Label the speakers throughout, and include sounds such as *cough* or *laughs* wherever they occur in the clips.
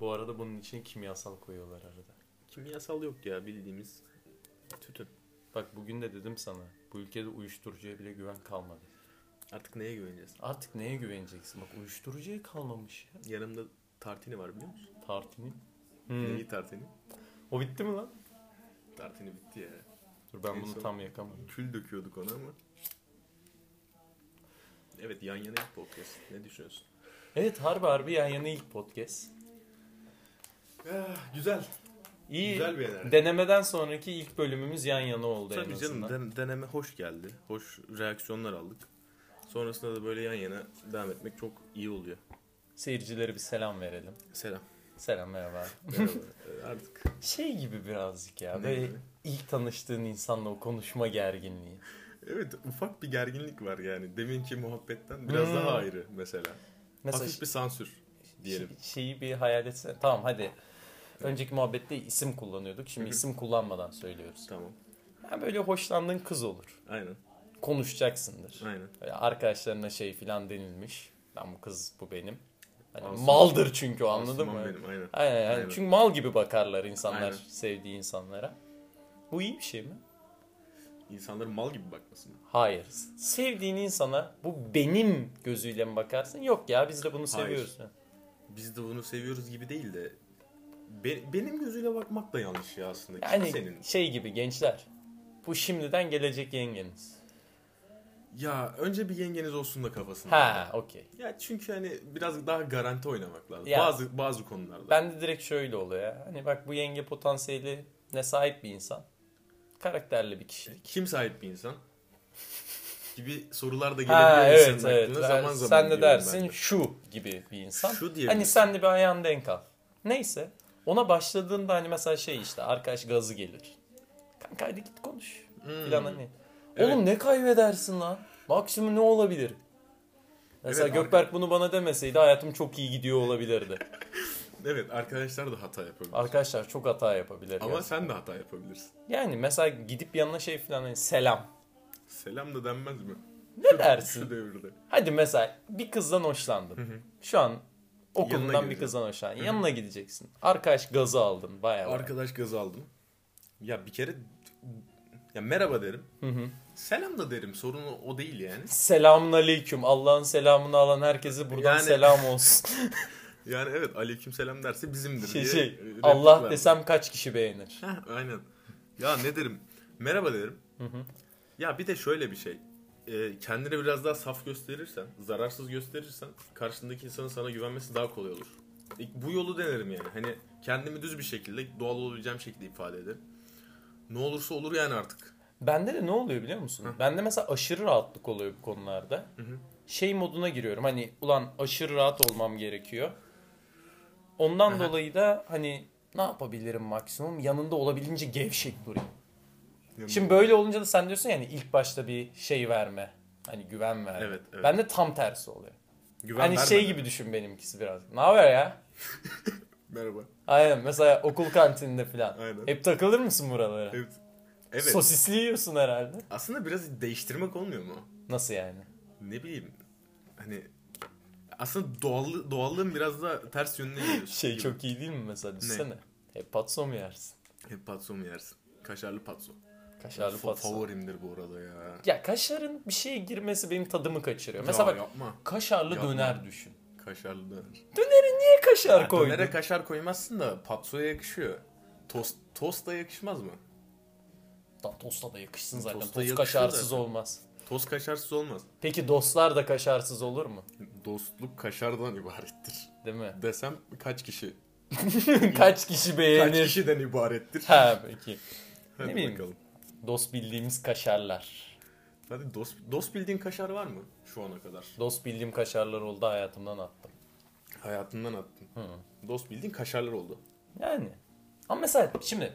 Speaker 1: Bu arada bunun içine kimyasal koyuyorlar arada.
Speaker 2: Kimyasal yok ya bildiğimiz tütün.
Speaker 1: Bak bugün de dedim sana bu ülkede uyuşturucuya bile güven kalmadı.
Speaker 2: Artık neye güveneceğiz?
Speaker 1: Artık neye güveneceksin? Bak uyuşturucuya kalmamış ya.
Speaker 2: Yanımda tartini var biliyor musun?
Speaker 1: Tartinin.
Speaker 2: Neyi tartini?
Speaker 1: O bitti mi lan?
Speaker 2: Tartini bitti ya.
Speaker 1: Dur ben
Speaker 2: En
Speaker 1: bunu
Speaker 2: son-
Speaker 1: tam yakamadım.
Speaker 2: Kül döküyorduk ona ama. Evet yan yana bir podcast. Ne düşünüyorsun?
Speaker 1: Evet harbi harbi yan yana ilk podcast.
Speaker 2: Ah, güzel.
Speaker 1: İyi.
Speaker 2: Güzel bir enerji.
Speaker 1: Denemeden sonraki ilk bölümümüz yan yana oldu en
Speaker 2: Tabii
Speaker 1: azından.
Speaker 2: canım den- deneme hoş geldi. Hoş reaksiyonlar aldık. Sonrasında da böyle yan yana devam etmek çok iyi oluyor.
Speaker 1: Seyircilere bir selam verelim.
Speaker 2: Selam.
Speaker 1: Selam
Speaker 2: *laughs*
Speaker 1: merhaba. *laughs*
Speaker 2: Merhaba. Ee, Artık
Speaker 1: Şey gibi birazcık ya.
Speaker 2: Ne
Speaker 1: böyle
Speaker 2: gibi?
Speaker 1: ilk tanıştığın insanla o konuşma gerginliği.
Speaker 2: evet ufak bir gerginlik var yani. Deminki muhabbetten biraz
Speaker 1: Hmm.
Speaker 2: daha ayrı mesela.
Speaker 1: Mesela
Speaker 2: Hafif bir sansür diyelim.
Speaker 1: şey- şeyi bir hayal etsene. Tamam hadi. Önceki muhabbette isim kullanıyorduk. Şimdi
Speaker 2: Hı hı.
Speaker 1: isim kullanmadan söylüyoruz.
Speaker 2: Tamam.
Speaker 1: Yani böyle hoşlandığın kız olur.
Speaker 2: Aynen.
Speaker 1: Konuşacaksındır.
Speaker 2: Aynen.
Speaker 1: Böyle arkadaşlarına şey filan denilmiş. Ben bu kız bu benim. Hani
Speaker 2: Asuman-
Speaker 1: maldır çünkü o anladın
Speaker 2: Asuman
Speaker 1: mı?
Speaker 2: Benim, aynen.
Speaker 1: Aynen, aynen.
Speaker 2: Aynen.
Speaker 1: Çünkü mal gibi bakarlar insanlar
Speaker 2: Aynen.
Speaker 1: sevdiği insanlara. Bu iyi bir şey mi?
Speaker 2: İnsanların mal gibi bakmasın.
Speaker 1: Hayır. Sevdiğin insana bu benim gözüyle mi bakarsın? Yok ya biz de bunu
Speaker 2: Hayır.
Speaker 1: seviyoruz.
Speaker 2: Biz de bunu seviyoruz gibi değil de be- benim gözüyle bakmak da yanlış ya aslında. Kim
Speaker 1: Yani
Speaker 2: senin?
Speaker 1: şey gibi gençler. Bu şimdiden gelecek yengeniz.
Speaker 2: Ya önce bir yengeniz olsun da kafasında.
Speaker 1: Ha, okey.
Speaker 2: Ya çünkü hani biraz daha garanti oynamak lazım.
Speaker 1: Ya.
Speaker 2: Bazı bazı konularda.
Speaker 1: Ben de direkt şöyle oluyor ya. Hani bak bu yenge potansiyeli ne sahip bir insan. Karakterli bir kişi.
Speaker 2: Kim sahip bir insan? gibi sorular da gelebiliyor
Speaker 1: Ha evet
Speaker 2: insanın
Speaker 1: evet.
Speaker 2: aklına
Speaker 1: Ben-
Speaker 2: zaman zaman.
Speaker 1: sen de
Speaker 2: diyorum
Speaker 1: dersin
Speaker 2: ben de.
Speaker 1: şu gibi bir insan.
Speaker 2: Şu diyebilirsin.
Speaker 1: Hani sen de bir ayağın denk al. Neyse ona başladığında hani mesela şey işte arkadaş gazı gelir. Kanka hadi git konuş.
Speaker 2: Hmm.
Speaker 1: Falan hani.
Speaker 2: Evet.
Speaker 1: Oğlum ne kaybedersin lan? Maksimum ne olabilir? Mesela
Speaker 2: Evet,
Speaker 1: Gökberk bunu bana demeseydi hayatım çok iyi gidiyor olabilirdi.
Speaker 2: Evet arkadaşlar da hata yapabilir.
Speaker 1: Arkadaşlar çok hata yapabilir.
Speaker 2: Ama
Speaker 1: ya.
Speaker 2: sen de hata yapabilirsin.
Speaker 1: Yani mesela gidip yanına şey falan hani selam.
Speaker 2: Selam da denmez mi?
Speaker 1: Ne
Speaker 2: Şu
Speaker 1: dersin?
Speaker 2: devirde.
Speaker 1: Hadi mesela bir kızdan
Speaker 2: Hı
Speaker 1: hoşlandın.
Speaker 2: hı.
Speaker 1: Şu an okulundan bir
Speaker 2: gideceğim.
Speaker 1: kızdan hoşlandın.
Speaker 2: Hı hı.
Speaker 1: Yanına gideceksin. Arkadaş gazı aldın bayağı. baya.
Speaker 2: Arkadaş gazı aldım. Ya bir kere ya merhaba derim.
Speaker 1: Hı hı.
Speaker 2: Selam da derim. Sorun o- o değil yani.
Speaker 1: Selamun aleyküm. Allah'ın selamını alan herkese buradan
Speaker 2: Yani-
Speaker 1: selam
Speaker 2: *laughs*
Speaker 1: olsun. *laughs*
Speaker 2: Yani evet aleyküm selam derse bizimdir
Speaker 1: şey
Speaker 2: diye.
Speaker 1: şey.
Speaker 2: e, replik
Speaker 1: Allah
Speaker 2: verdim.
Speaker 1: desem kaç kişi beğenir?
Speaker 2: Heh, aynen. Ya ne derim? Merhaba derim.
Speaker 1: Hı hı.
Speaker 2: Ya bir de şöyle bir şey. Ee, kendini biraz daha saf gösterirsen, zararsız gösterirsen karşındaki insanın sana güvenmesi daha kolay olur. İlk Bu yolu denerim yani. Hani kendimi düz bir şekilde, doğal olabileceğim şekilde ifade ederim. Ne olursa olur yani artık.
Speaker 1: Bende de ne oluyor biliyor musun? Bende mesela aşırı rahatlık oluyor bu konularda.
Speaker 2: hı.
Speaker 1: Şey moduna giriyorum. Hani ulan aşırı rahat olmam gerekiyor. Ondan
Speaker 2: Aha.
Speaker 1: dolayı da hani ne yapabilirim maksimum? Yanında olabildiğince gevşek durayım. Şimdi böyle olunca da sen diyorsun yani ilk başta bir şey verme. Hani güven verme.
Speaker 2: Evet, evet.
Speaker 1: Bende tam tersi oluyor.
Speaker 2: Güven
Speaker 1: hani
Speaker 2: vermeden.
Speaker 1: şey gibi düşün benimkisi biraz. Ne haber ya?
Speaker 2: Merhaba.
Speaker 1: Aynen mesela okul kantininde falan.
Speaker 2: Aynen.
Speaker 1: Hep takılır mısın buralara?
Speaker 2: Evet. Evet.
Speaker 1: Sosisli yiyorsun herhalde.
Speaker 2: Aslında biraz değiştirmek olmuyor mu?
Speaker 1: Nasıl yani?
Speaker 2: Ne bileyim. Hani aslında doğallı, doğallığın biraz da
Speaker 1: *laughs*
Speaker 2: ters yönüne gidiyor.
Speaker 1: Şey çok iyi değil mi mesela düşsene. Hep patso mu yersin?
Speaker 2: Hep patso mu yersin? Kaşarlı patso.
Speaker 1: Kaşarlı
Speaker 2: Fa-
Speaker 1: patso.
Speaker 2: Favorimdir bu arada ya.
Speaker 1: Ya kaşarın bir şeye girmesi benim tadımı kaçırıyor. Mesela bak
Speaker 2: Ya yapma.
Speaker 1: kaşarlı
Speaker 2: Yapma.
Speaker 1: döner düşün.
Speaker 2: Kaşarlı döner.
Speaker 1: Niye kaşar koydun?
Speaker 2: Dönere kaşar koymazsın da patsoya yakışıyor. Tost, tosta yakışmaz mı?
Speaker 1: Lan tosta da yakışsın zaten.
Speaker 2: Tosta
Speaker 1: Tost
Speaker 2: yakışır
Speaker 1: kaşarsız
Speaker 2: zaten.
Speaker 1: olmaz.
Speaker 2: Tost kaşarsız olmaz.
Speaker 1: Peki dostlar da kaşarsız olur mu?
Speaker 2: Dostluk kaşardan ibarettir.
Speaker 1: Değil
Speaker 2: *laughs*
Speaker 1: mi?
Speaker 2: Desem kaç kişi?
Speaker 1: Kaç kişi
Speaker 2: Kaç
Speaker 1: beğenir?
Speaker 2: kişiden ibarettir?
Speaker 1: Ha peki.
Speaker 2: Hadi
Speaker 1: bileyim.
Speaker 2: bakalım.
Speaker 1: Dost bildiğimiz kaşarlar.
Speaker 2: Hadi dost, dost bildiğin kaşar var mı şu ana kadar?
Speaker 1: Dost bildiğim kaşarlar oldu hayatımdan attım.
Speaker 2: Hayatından attın. Dost bildiğin kaşarlar oldu.
Speaker 1: Yani. Ama mesela şimdi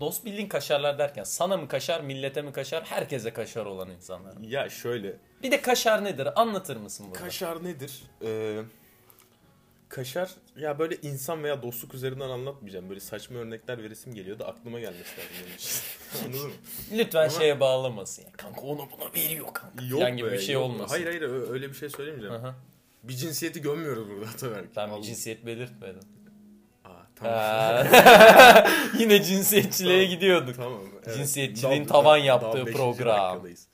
Speaker 1: dost bildiğin kaşarlar derken sana mı kaşar, millete mi kaşar, herkese kaşar olan insanlar.
Speaker 2: Ya şöyle.
Speaker 1: Bir de kaşar nedir? Anlatır mısın burada?
Speaker 2: Kaşar nedir? Ee, kaşar ya böyle insan veya dostluk üzerinden anlatmayacağım. Böyle saçma örnekler veresim geliyor da aklıma gelmesi lazım
Speaker 1: *laughs*
Speaker 2: benim için. Anladın mı?
Speaker 1: Lütfen
Speaker 2: Ama-
Speaker 1: şeye bağlamasın. ya. Kanka onu buna veriyor kanka. Yok
Speaker 2: Yok
Speaker 1: gibi
Speaker 2: be,
Speaker 1: bir şey
Speaker 2: yok.
Speaker 1: olmasın.
Speaker 2: Hayır hayır ö- öyle bir şey söylemeyeceğim.
Speaker 1: Aha.
Speaker 2: Bir cinsiyeti gömüyoruz burada tabii.
Speaker 1: Ben bir Ee,
Speaker 2: Vallahi. *laughs*
Speaker 1: cinsiyet belirtmedim. Aa, *laughs* Yine cinsiyetçiliğe
Speaker 2: Tamam.
Speaker 1: gidiyorduk.
Speaker 2: Tamam.
Speaker 1: Cinsiyetçiliğin tavan yaptığı
Speaker 2: beşinci
Speaker 1: program.
Speaker 2: dakikadayız.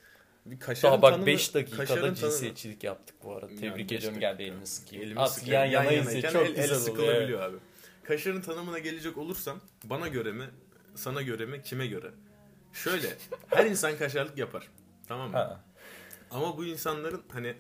Speaker 2: Bir kaşarın
Speaker 1: Daha bak
Speaker 2: tanımı-
Speaker 1: 5
Speaker 2: kaşarın
Speaker 1: dakikada
Speaker 2: tanımı-
Speaker 1: cinsiyetçilik yaptık bu arada.
Speaker 2: Yani
Speaker 1: Tebrik
Speaker 2: beş
Speaker 1: ediyorum geldi
Speaker 2: dakika.
Speaker 1: elini sıkayım.
Speaker 2: Elimi
Speaker 1: At
Speaker 2: sıkıyorum.
Speaker 1: yan yana izle
Speaker 2: yanayken
Speaker 1: çok
Speaker 2: el, el
Speaker 1: güzel oluyor.
Speaker 2: sıkılabiliyor abi. Kaşarın tanımına gelecek olursam bana göre mi, sana göre mi, kime göre? Şöyle her insan kaşarlık yapar. Tamam mı?
Speaker 1: Ha.
Speaker 2: Ama bu insanların hani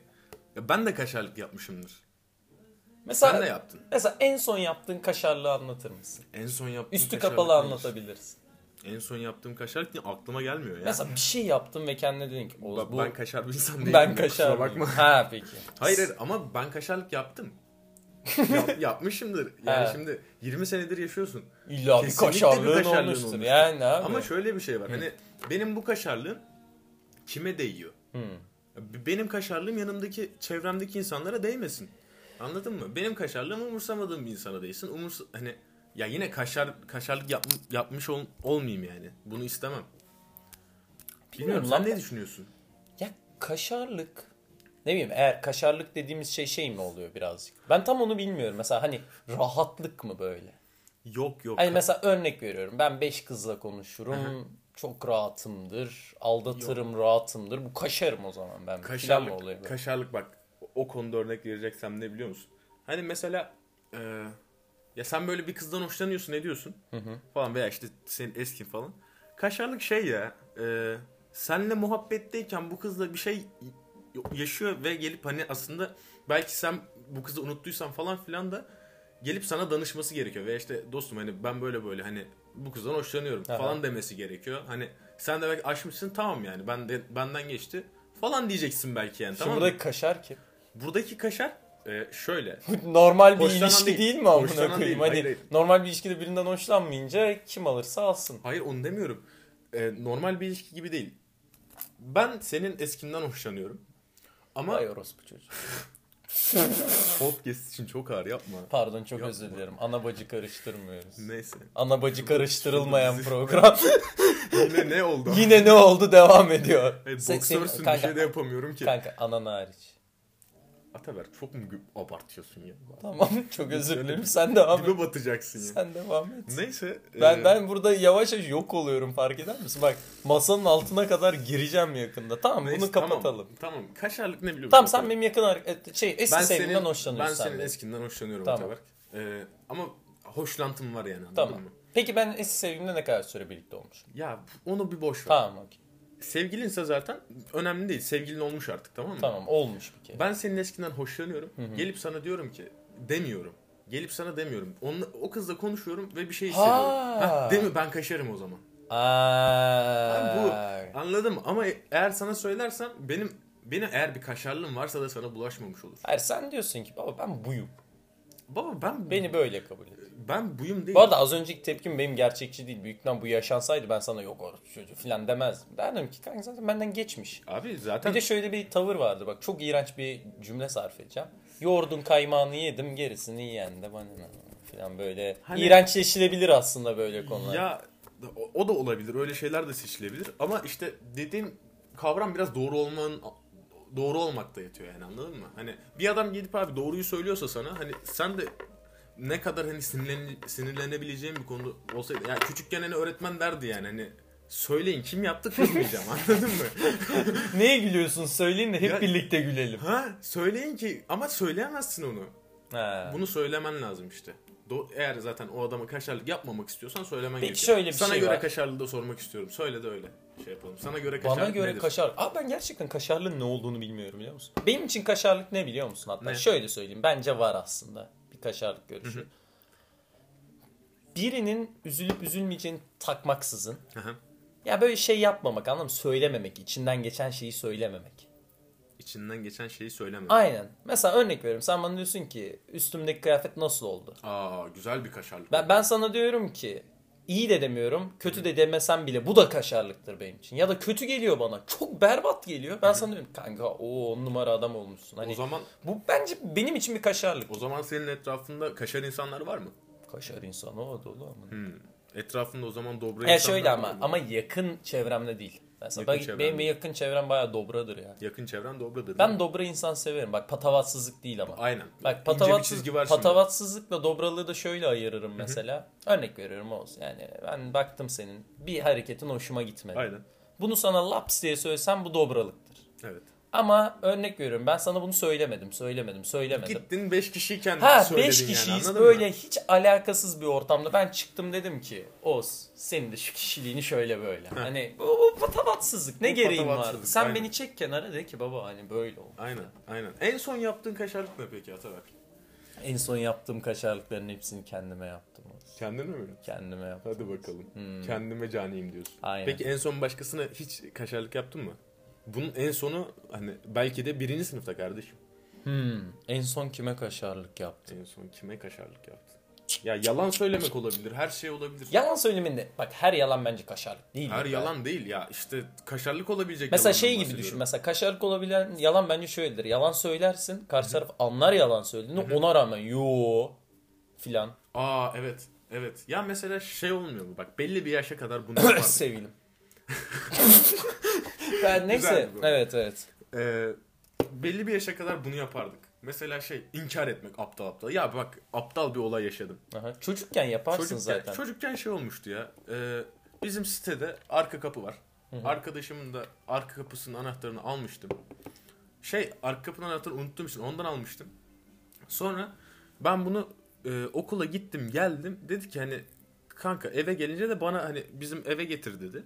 Speaker 2: ya ben de kaşarlık yapmışımdır. Sen de
Speaker 1: Mesela,
Speaker 2: yaptın.
Speaker 1: mesela en son yaptığın kaşarlığı anlatır mısın?
Speaker 2: En son yaptığım
Speaker 1: Üstü
Speaker 2: kaşarlık
Speaker 1: kapalı
Speaker 2: neymiş?
Speaker 1: anlatabilirsin.
Speaker 2: En son yaptığım kaşarlık ne? aklıma gelmiyor ya.
Speaker 1: Mesela bir şey yaptın ve kendine dedin ki
Speaker 2: Bak,
Speaker 1: "Oğuz, bu
Speaker 2: ben kaşar bir insan değilim.
Speaker 1: ben
Speaker 2: kusura
Speaker 1: kaşar mıyım?"
Speaker 2: bakma.
Speaker 1: Ha peki.
Speaker 2: Hayır hayır ama ben
Speaker 1: *laughs*
Speaker 2: kaşarlık yaptım. Yap- yapmışımdır. Yani
Speaker 1: Evet.
Speaker 2: şimdi 20 senedir yaşıyorsun.
Speaker 1: İlla bir
Speaker 2: Kesinlikle bir
Speaker 1: kaşarlığın
Speaker 2: kaşarlığın
Speaker 1: olmuştur.
Speaker 2: olmuştur.
Speaker 1: Yani abi.
Speaker 2: Ama şöyle bir şey var. Hani benim bu kaşarlığım kime değiyor?
Speaker 1: Hı.
Speaker 2: B- Benim kaşarlığım yanımdaki, çevremdeki insanlara değmesin. Anladın mı? Benim kaşarlığım umursamadığım bir insana değsin. Umurs hani ya yine kaşar kaşarlık yapm- yapmış ol- olmayayım yani. Bunu istemem. Bilmiyorum,
Speaker 1: Bilmiyorum
Speaker 2: sen
Speaker 1: lan.
Speaker 2: ne düşünüyorsun?
Speaker 1: Ya kaşarlık. Ne bileyim eğer kaşarlık dediğimiz şey şey mi oluyor birazcık? Ben tam onu bilmiyorum. Mesela hani rahatlık mı böyle?
Speaker 2: Yok yok.
Speaker 1: Hani mesela örnek veriyorum. Ben 5 kızla konuşurum. Çok rahatımdır. Aldatırım rahatımdır. Bu kaşarım o zaman ben. Kaşar mı oluyor?
Speaker 2: Kaşarlık, kaşarlık bak o- o konuda örnek vereceksem ne biliyor musun? Hani mesela e, ya sen böyle bir kızdan hoşlanıyorsun ne diyorsun falan veya işte senin eskin falan. Kaşarlık şey ya e, senle muhabbetteyken bu kızla bir şey yaşıyor ve gelip hani aslında belki sen bu kızı unuttuysan falan filan da gelip sana danışması gerekiyor. Ve işte dostum hani ben böyle böyle hani bu kızdan hoşlanıyorum
Speaker 1: Aha.
Speaker 2: falan demesi gerekiyor. Hani sen de belki aşmışsın tamam yani ben de, benden geçti falan diyeceksin belki yani
Speaker 1: Şimdi
Speaker 2: tamam mı?
Speaker 1: buradaki kaşar ki.
Speaker 2: Buradaki kaşar e,
Speaker 1: *laughs*
Speaker 2: şöyle.
Speaker 1: Bu normal bir
Speaker 2: Hoşlanan
Speaker 1: ilişki değil,
Speaker 2: değil.
Speaker 1: mi amına
Speaker 2: Hoşlanan
Speaker 1: koyayım?
Speaker 2: değil,
Speaker 1: Hani
Speaker 2: hayır, hayır.
Speaker 1: normal bir ilişkide birinden hoşlanmayınca kim alırsa alsın.
Speaker 2: Hayır onu demiyorum. E, normal bir ilişki gibi değil. Ben senin eskinden hoşlanıyorum. Ama
Speaker 1: Vay orospu çocuğu.
Speaker 2: podcast için çok ağır yapma.
Speaker 1: Pardon çok
Speaker 2: Yapma.
Speaker 1: özür dilerim. Ana bacı karıştırmıyoruz. *laughs*
Speaker 2: Neyse.
Speaker 1: Ana bacı karıştırılmayan
Speaker 2: bizi- *laughs*
Speaker 1: program.
Speaker 2: Yine ne oldu?
Speaker 1: Yine ne oldu devam ediyor.
Speaker 2: E,
Speaker 1: Sen- sen-
Speaker 2: boksörsün bir
Speaker 1: kanka,
Speaker 2: şey de yapamıyorum ki.
Speaker 1: kanka anan hariç.
Speaker 2: Ataberk çok mu gü- abartıyorsun ya?
Speaker 1: Tamam çok özür dilerim sen devam et.
Speaker 2: Dibe batacaksın ya.
Speaker 1: Sen devam et.
Speaker 2: Neyse. e,
Speaker 1: Ben ben burada yavaş yavaş yok oluyorum fark eder misin? Bak masanın altına kadar gireceğim yakında. Tamam
Speaker 2: neyse,
Speaker 1: bunu
Speaker 2: tamam,
Speaker 1: kapatalım.
Speaker 2: Tamam. Kaşarlık ne biliyorum.
Speaker 1: Tamam, sen benim yakın ar- e, şey eski
Speaker 2: ben
Speaker 1: sevgimden
Speaker 2: senin,
Speaker 1: hoşlanıyorsun
Speaker 2: Ben
Speaker 1: sen
Speaker 2: senin
Speaker 1: benim.
Speaker 2: eskinden hoşlanıyorum
Speaker 1: Tamam.
Speaker 2: Ataberk. E, ama hoşlantım var yani anladın
Speaker 1: Tamam.
Speaker 2: mı?
Speaker 1: Peki ben eski sevgimle ne kadar süre birlikte olmuşum?
Speaker 2: Ya onu bir boş ver.
Speaker 1: Tamam okey.
Speaker 2: Sevgilinse zaten önemli değil. Sevgilin olmuş artık tamam mı?
Speaker 1: Tamam olmuş bir kere.
Speaker 2: Ben senin eskinden hoşlanıyorum. Gelip sana diyorum ki demiyorum. Gelip sana demiyorum. Onunla, o kızla konuşuyorum ve bir şey
Speaker 1: Ha.
Speaker 2: hissediyorum. Ha, değil mi? Ben kaşarım o zaman.
Speaker 1: Aa,
Speaker 2: Ben bu anladım ama e- eğer sana söylersem benim benim eğer bir kaşarlığım varsa da sana bulaşmamış olur.
Speaker 1: Hayır sen diyorsun ki baba ben buyum.
Speaker 2: Baba ben
Speaker 1: Beni böyle kabul et.
Speaker 2: ben buyum değil.
Speaker 1: Bu arada az önceki tepkim benim gerçekçi değil. Büyükten bu yaşansaydı ben sana yok orası çocuğu falan demezdim. Derdim ki kanka zaten benden geçmiş.
Speaker 2: Abi
Speaker 1: Bir
Speaker 2: zaten
Speaker 1: de şöyle bir tavır vardı bak çok iğrenç bir cümle sarf edeceğim. Yoğurdun kaymağını yedim gerisini yiyen de bana ne falan böyle.
Speaker 2: Hani-
Speaker 1: İğrençleşilebilir aslında böyle konular.
Speaker 2: ya o- o da olabilir. Öyle şeyler de seçilebilir ama işte dediğim kavram biraz doğru olmanın doğru olmakta yatıyor yani anladın mı? Hani bir adam gelip abi doğruyu söylüyorsa sana hani sen de ne kadar hani sinirlen, sinirlenebileceğin bir konuda olsaydı. Ya küçükken hani öğretmen derdi yani hani söyleyin kim yaptı kızmayacağım *laughs* anladın mı?
Speaker 1: Neye gülüyorsun söyleyin de hep
Speaker 2: Ya-
Speaker 1: birlikte gülelim.
Speaker 2: Ha söyleyin ki ama söyleyemezsin onu.
Speaker 1: Ha.
Speaker 2: Bunu söylemen lazım işte. Do- Eğer zaten o adama kaşarlık yapmamak istiyorsan söylemen
Speaker 1: Peki
Speaker 2: gerekiyor.
Speaker 1: şöyle bir
Speaker 2: Sana
Speaker 1: şey
Speaker 2: göre
Speaker 1: var.
Speaker 2: kaşarlığı da sormak istiyorum. Söyle de öyle şey yapalım. Sana göre kaşarlık
Speaker 1: Bana göre
Speaker 2: nedir?
Speaker 1: kaşar. Abi ben gerçekten kaşarlığın ne olduğunu bilmiyorum biliyor musun? Benim için kaşarlık ne biliyor musun? Hatta
Speaker 2: Ne?
Speaker 1: şöyle söyleyeyim. Bence var aslında bir kaşarlık görüşü. Birinin üzülüp üzülmeyeceğini takmaksızın.
Speaker 2: Hı hı.
Speaker 1: Ya böyle şey yapmamak anladın mı? Söylememek. içinden geçen şeyi söylememek.
Speaker 2: İçinden geçen şeyi söyleme.
Speaker 1: Aynen. Mesela örnek veriyorum. Sen bana diyorsun ki üstümdeki kıyafet nasıl oldu?
Speaker 2: Aa güzel bir kaşarlık.
Speaker 1: Ben, ben sana diyorum ki iyi de demiyorum, kötü de demesem bile bu da kaşarlıktır benim için. Ya da kötü geliyor bana, çok berbat geliyor. Ben sana diyorum kanka o on numara adam olmuşsun. Hani
Speaker 2: O zaman
Speaker 1: bu bence benim için bir kaşarlık.
Speaker 2: o zaman senin etrafında kaşar insanlar var mı?
Speaker 1: Kaşar insanı o dolu ama.
Speaker 2: Etrafında o zaman dobra
Speaker 1: Ya
Speaker 2: insanlar
Speaker 1: şöyle
Speaker 2: var
Speaker 1: ama
Speaker 2: mı?
Speaker 1: ama yakın çevremde değil. Ben Mesela
Speaker 2: Yakın
Speaker 1: ben,
Speaker 2: çevrem
Speaker 1: benim
Speaker 2: mi?
Speaker 1: yakın çevrem bayağı dobradır ya.
Speaker 2: Yakın çevren dobradır. değil
Speaker 1: Ben
Speaker 2: mi?
Speaker 1: dobra insan severim. Bak patavatsızlık değil ama.
Speaker 2: Aynen. İnce
Speaker 1: Bak
Speaker 2: bir
Speaker 1: patavatsız,
Speaker 2: çizgi var şimdi.
Speaker 1: patavatsızlıkla dobralığı da şöyle ayırırım mesela. Örnek veriyorum Oğuz. Yani ben baktım senin bir hareketin hoşuma gitmedi.
Speaker 2: Aynen.
Speaker 1: Bunu sana laps diye söylesem bu dobralıktır.
Speaker 2: Evet.
Speaker 1: Ama örnek veriyorum ben sana bunu söylemedim, söylemedim, söylemedim.
Speaker 2: Gittin 5 kişiyi kendin
Speaker 1: Ha
Speaker 2: söyledin
Speaker 1: 5
Speaker 2: yani,
Speaker 1: kişiyiz
Speaker 2: anladın mı?
Speaker 1: böyle hiç alakasız bir ortamda ben çıktım dedim ki Oz senin de şu kişiliğini şöyle böyle. hani bu, bu patavatsızlık ne
Speaker 2: Bu
Speaker 1: gereğin vardı.
Speaker 2: patavatsızlık,
Speaker 1: Sen
Speaker 2: aynen.
Speaker 1: beni çek kenara de ki baba hani böyle ol.
Speaker 2: Aynen aynen. En son yaptığın kaşarlık ne peki Atabak?
Speaker 1: En son yaptığım kaşarlıkların hepsini kendime yaptım Oz.
Speaker 2: Kendin mi?
Speaker 1: Kendime yaptım.
Speaker 2: Hadi bakalım. Kendime caniyim diyorsun.
Speaker 1: Hmm. Aynen.
Speaker 2: Peki en son başkasına hiç kaşarlık yaptın mı? Bunun en sonu hani belki de birinci sınıfta kardeşim.
Speaker 1: Hmm, en son kime kaşarlık yaptım?
Speaker 2: En son kime kaşarlık yaptın? Ya yalan söylemek olabilir, her şey olabilir.
Speaker 1: Yalan söylemenin de bak her yalan bence kaşarlık değil.
Speaker 2: her
Speaker 1: ya.
Speaker 2: yalan değil ya işte kaşarlık olabilecek
Speaker 1: Mesela
Speaker 2: yalandan
Speaker 1: şey gibi
Speaker 2: bahsediyorum.
Speaker 1: düşün. Mesela kaşarlık olabilen yalan bence şöyledir. Yalan söylersin. Karşı taraf anlar yalan söylediğini. Ona rağmen yo filan.
Speaker 2: *laughs* Aa evet. Evet. Ya mesela şey olmuyor mu? Bak belli bir yaşa
Speaker 1: *laughs*
Speaker 2: kadar bunu yapar. *laughs*
Speaker 1: Sevgilim. ben neyse.
Speaker 2: Güzeldi bu.
Speaker 1: Evet evet.
Speaker 2: Ee, belli bir yaşa kadar bunu yapardık. Mesela şey inkar etmek aptal aptal. Ya bak aptal bir olay yaşadım.
Speaker 1: Aha. Çocukken yaparsın
Speaker 2: Çocukken,
Speaker 1: zaten.
Speaker 2: çocukken şey olmuştu ya. Ee, bizim sitede arka kapı var. Arkadaşımın da arka kapısının anahtarını almıştım. Şey arka kapının anahtarını unuttuğum için ondan almıştım. Sonra ben bunu e, okula gittim geldim. Dedi ki hani kanka eve gelince de bana hani bizim eve getir dedi.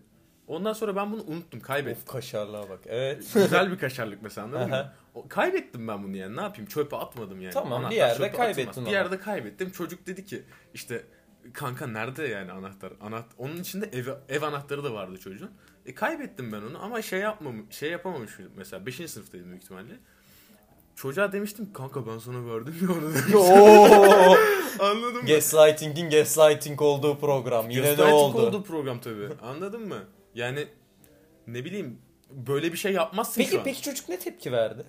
Speaker 2: Ondan sonra ben bunu unuttum kaybettim.
Speaker 1: Of kaşarlığa bak.
Speaker 2: *laughs*
Speaker 1: Evet. *laughs*
Speaker 2: Güzel bir kaşarlık mesela anladın mı?
Speaker 1: Aha.
Speaker 2: O- kaybettim ben bunu yani ne yapayım çöpe atmadım yani.
Speaker 1: Tamam, bir yerde
Speaker 2: çöpe
Speaker 1: kaybettin
Speaker 2: atılmaz.
Speaker 1: onu.
Speaker 2: Bir yerde kaybettim çocuk dedi ki işte kanka nerede yani anahtar? Anahtar onun içinde ev ev anahtarı da vardı çocuğun. E kaybettim ben onu ama şey yapmam şey yapamamışım mesela 5. sınıftaydım büyük ihtimalle. Çocuğa demiştim kanka ben sana verdim ya onu *laughs* demiştim.
Speaker 1: Oo!
Speaker 2: Anladın mı?
Speaker 1: gaslighting'in gaslighting olduğu program. Yine ne
Speaker 2: Göstergelik
Speaker 1: oldu?
Speaker 2: oldu program tabii. Anladın mı? Yani ne bileyim böyle bir şey yapmazsın şu
Speaker 1: Peki
Speaker 2: an.
Speaker 1: peki çocuk ne tepki verdi?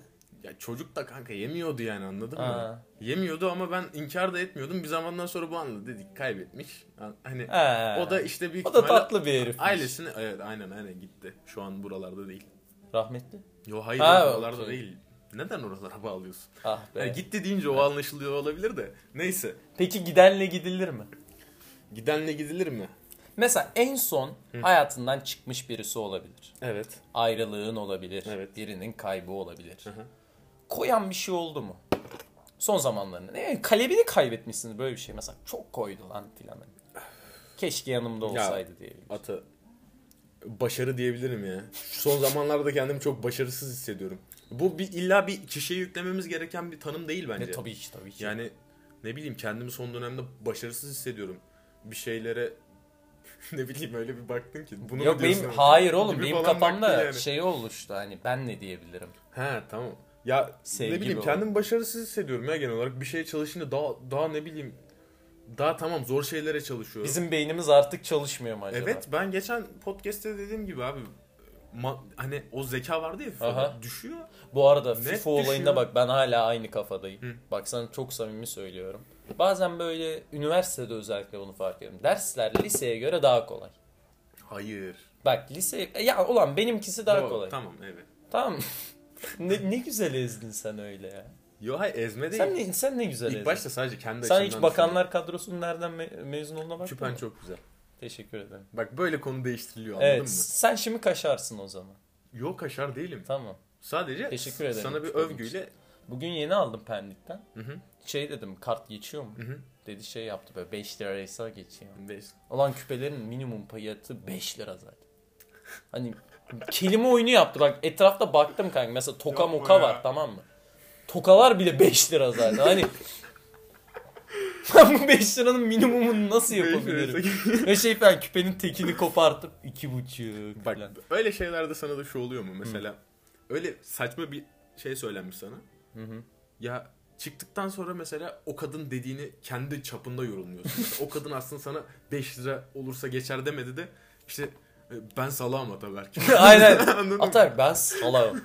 Speaker 2: Ya çocuk da kanka yemiyordu yani anladın mı?
Speaker 1: Ha.
Speaker 2: Yemiyordu ama ben inkar da etmiyordum. Bir zamandan sonra bu anladı dedik kaybetmiş. Hani
Speaker 1: Ha.
Speaker 2: o da işte büyük
Speaker 1: o da
Speaker 2: ihtimalle
Speaker 1: tatlı bir herif.
Speaker 2: ailesine evet aynen aynen gitti. Şu an buralarda değil.
Speaker 1: Rahmetli.
Speaker 2: Yo hayır
Speaker 1: Ha,
Speaker 2: buralarda
Speaker 1: okey.
Speaker 2: değil. Neden oralara bağlıyorsun?
Speaker 1: Ah be.
Speaker 2: Yani gitti deyince o anlaşılıyor olabilir de. Neyse.
Speaker 1: Peki gidenle gidilir mi?
Speaker 2: Gidenle gidilir mi?
Speaker 1: Mesela en son hayatından çıkmış birisi olabilir.
Speaker 2: Evet.
Speaker 1: Ayrılığın olabilir.
Speaker 2: Evet.
Speaker 1: Birinin kaybı olabilir.
Speaker 2: hı.
Speaker 1: Koyan bir şey oldu mu? Son zamanlarında. Ne, kalemini kaybetmişsiniz böyle bir şey. Mesela çok koydu lan filan. Keşke yanımda olsaydı diyebilirim.
Speaker 2: Atı başarı diyebilirim ya. Son zamanlarda kendimi çok başarısız hissediyorum. Bu bir, illa bir kişiye yüklememiz gereken bir tanım değil bence.
Speaker 1: Ne E, tabii ki tabii ki.
Speaker 2: Yani ne bileyim kendimi son dönemde başarısız hissediyorum. Bir şeylere *laughs* ne bileyim öyle bir baktın ki. Bunu mu
Speaker 1: Yok benim
Speaker 2: diyorsun ama?
Speaker 1: hayır oğlum
Speaker 2: Gibi
Speaker 1: benim
Speaker 2: falan baktın
Speaker 1: kafamda
Speaker 2: yani.
Speaker 1: şey oluştu hani ben ne diyebilirim.
Speaker 2: He tamam. Ya
Speaker 1: Sevgi
Speaker 2: ne bileyim
Speaker 1: bu.
Speaker 2: kendimi başarısız hissediyorum ya genel olarak. Bir şeye çalışınca daha daha ne bileyim daha tamam zor şeylere çalışıyorum.
Speaker 1: Bizim beynimiz artık çalışmıyor mu acaba?
Speaker 2: Evet ben geçen podcast'te dediğim gibi abi ma- hani o zeka vardı ya FIFA'da,
Speaker 1: Aha.
Speaker 2: düşüyor.
Speaker 1: Bu arada
Speaker 2: Net
Speaker 1: FIFA
Speaker 2: düşüyor.
Speaker 1: olayında bak ben hala aynı kafadayım.
Speaker 2: Hı.
Speaker 1: Bak sana çok samimi söylüyorum. Bazen böyle üniversitede özellikle bunu fark ediyorum. Dersler liseye göre daha kolay.
Speaker 2: Hayır.
Speaker 1: Bak lise e, ya ulan benimkisi daha
Speaker 2: Doğru,
Speaker 1: kolay. Tamam.
Speaker 2: Tamam evet.
Speaker 1: *laughs* ne, ne güzel ezdin sen öyle ya.
Speaker 2: Yo hayır ezme değil.
Speaker 1: Sen ne, sen ne güzel
Speaker 2: İlk
Speaker 1: ezdin.
Speaker 2: başta sadece kendi
Speaker 1: sen hiç
Speaker 2: açımdan
Speaker 1: bakanlar kadrosunun nereden me- mezun olduğuna
Speaker 2: düşündüm.
Speaker 1: baktın
Speaker 2: Küpen
Speaker 1: mı?
Speaker 2: çok güzel.
Speaker 1: Teşekkür ederim.
Speaker 2: Bak böyle konu değiştiriliyor anladın
Speaker 1: Evet
Speaker 2: mı?
Speaker 1: sen şimdi kaşarsın o zaman.
Speaker 2: Yok aşar değilim.
Speaker 1: Tamam.
Speaker 2: Sadece
Speaker 1: Teşekkür ederim.
Speaker 2: sana bir
Speaker 1: Çok
Speaker 2: övgüyle
Speaker 1: Bugün yeni aldım Pendik'ten.
Speaker 2: hı.
Speaker 1: Şey dedim kart geçiyor mu?
Speaker 2: hı.
Speaker 1: Dedi şey yaptı böyle 5 liraysa geçiyor.
Speaker 2: Neyse.
Speaker 1: Olan küpelerin minimum fiyatı 5 lira zaten. Hani kelime oyunu yaptı. Bak etrafta baktım kanka. Mesela toka
Speaker 2: Yapma
Speaker 1: moka
Speaker 2: ya.
Speaker 1: var tamam mı? Tokalar bile 5 lira zaten. Hani ben bu 5 liranın minimumunu nasıl yapabilirim? Ve şey falan küpenin tekini kopartıp 2,5
Speaker 2: *laughs* Bak
Speaker 1: falan. *laughs*
Speaker 2: öyle şeylerde sana da şu oluyor mu? Mesela öyle saçma bir şey söylenmiş sana.
Speaker 1: hı.
Speaker 2: Ya çıktıktan sonra mesela o kadın dediğini kendi çapında yorumluyorsun. *laughs* Mesela o kadın aslında sana 5 lira olursa geçer demedi de işte e, ben salağım Ataberk.
Speaker 1: *laughs* Aynen.
Speaker 2: *laughs* Anladın mı?
Speaker 1: Atar ben salam.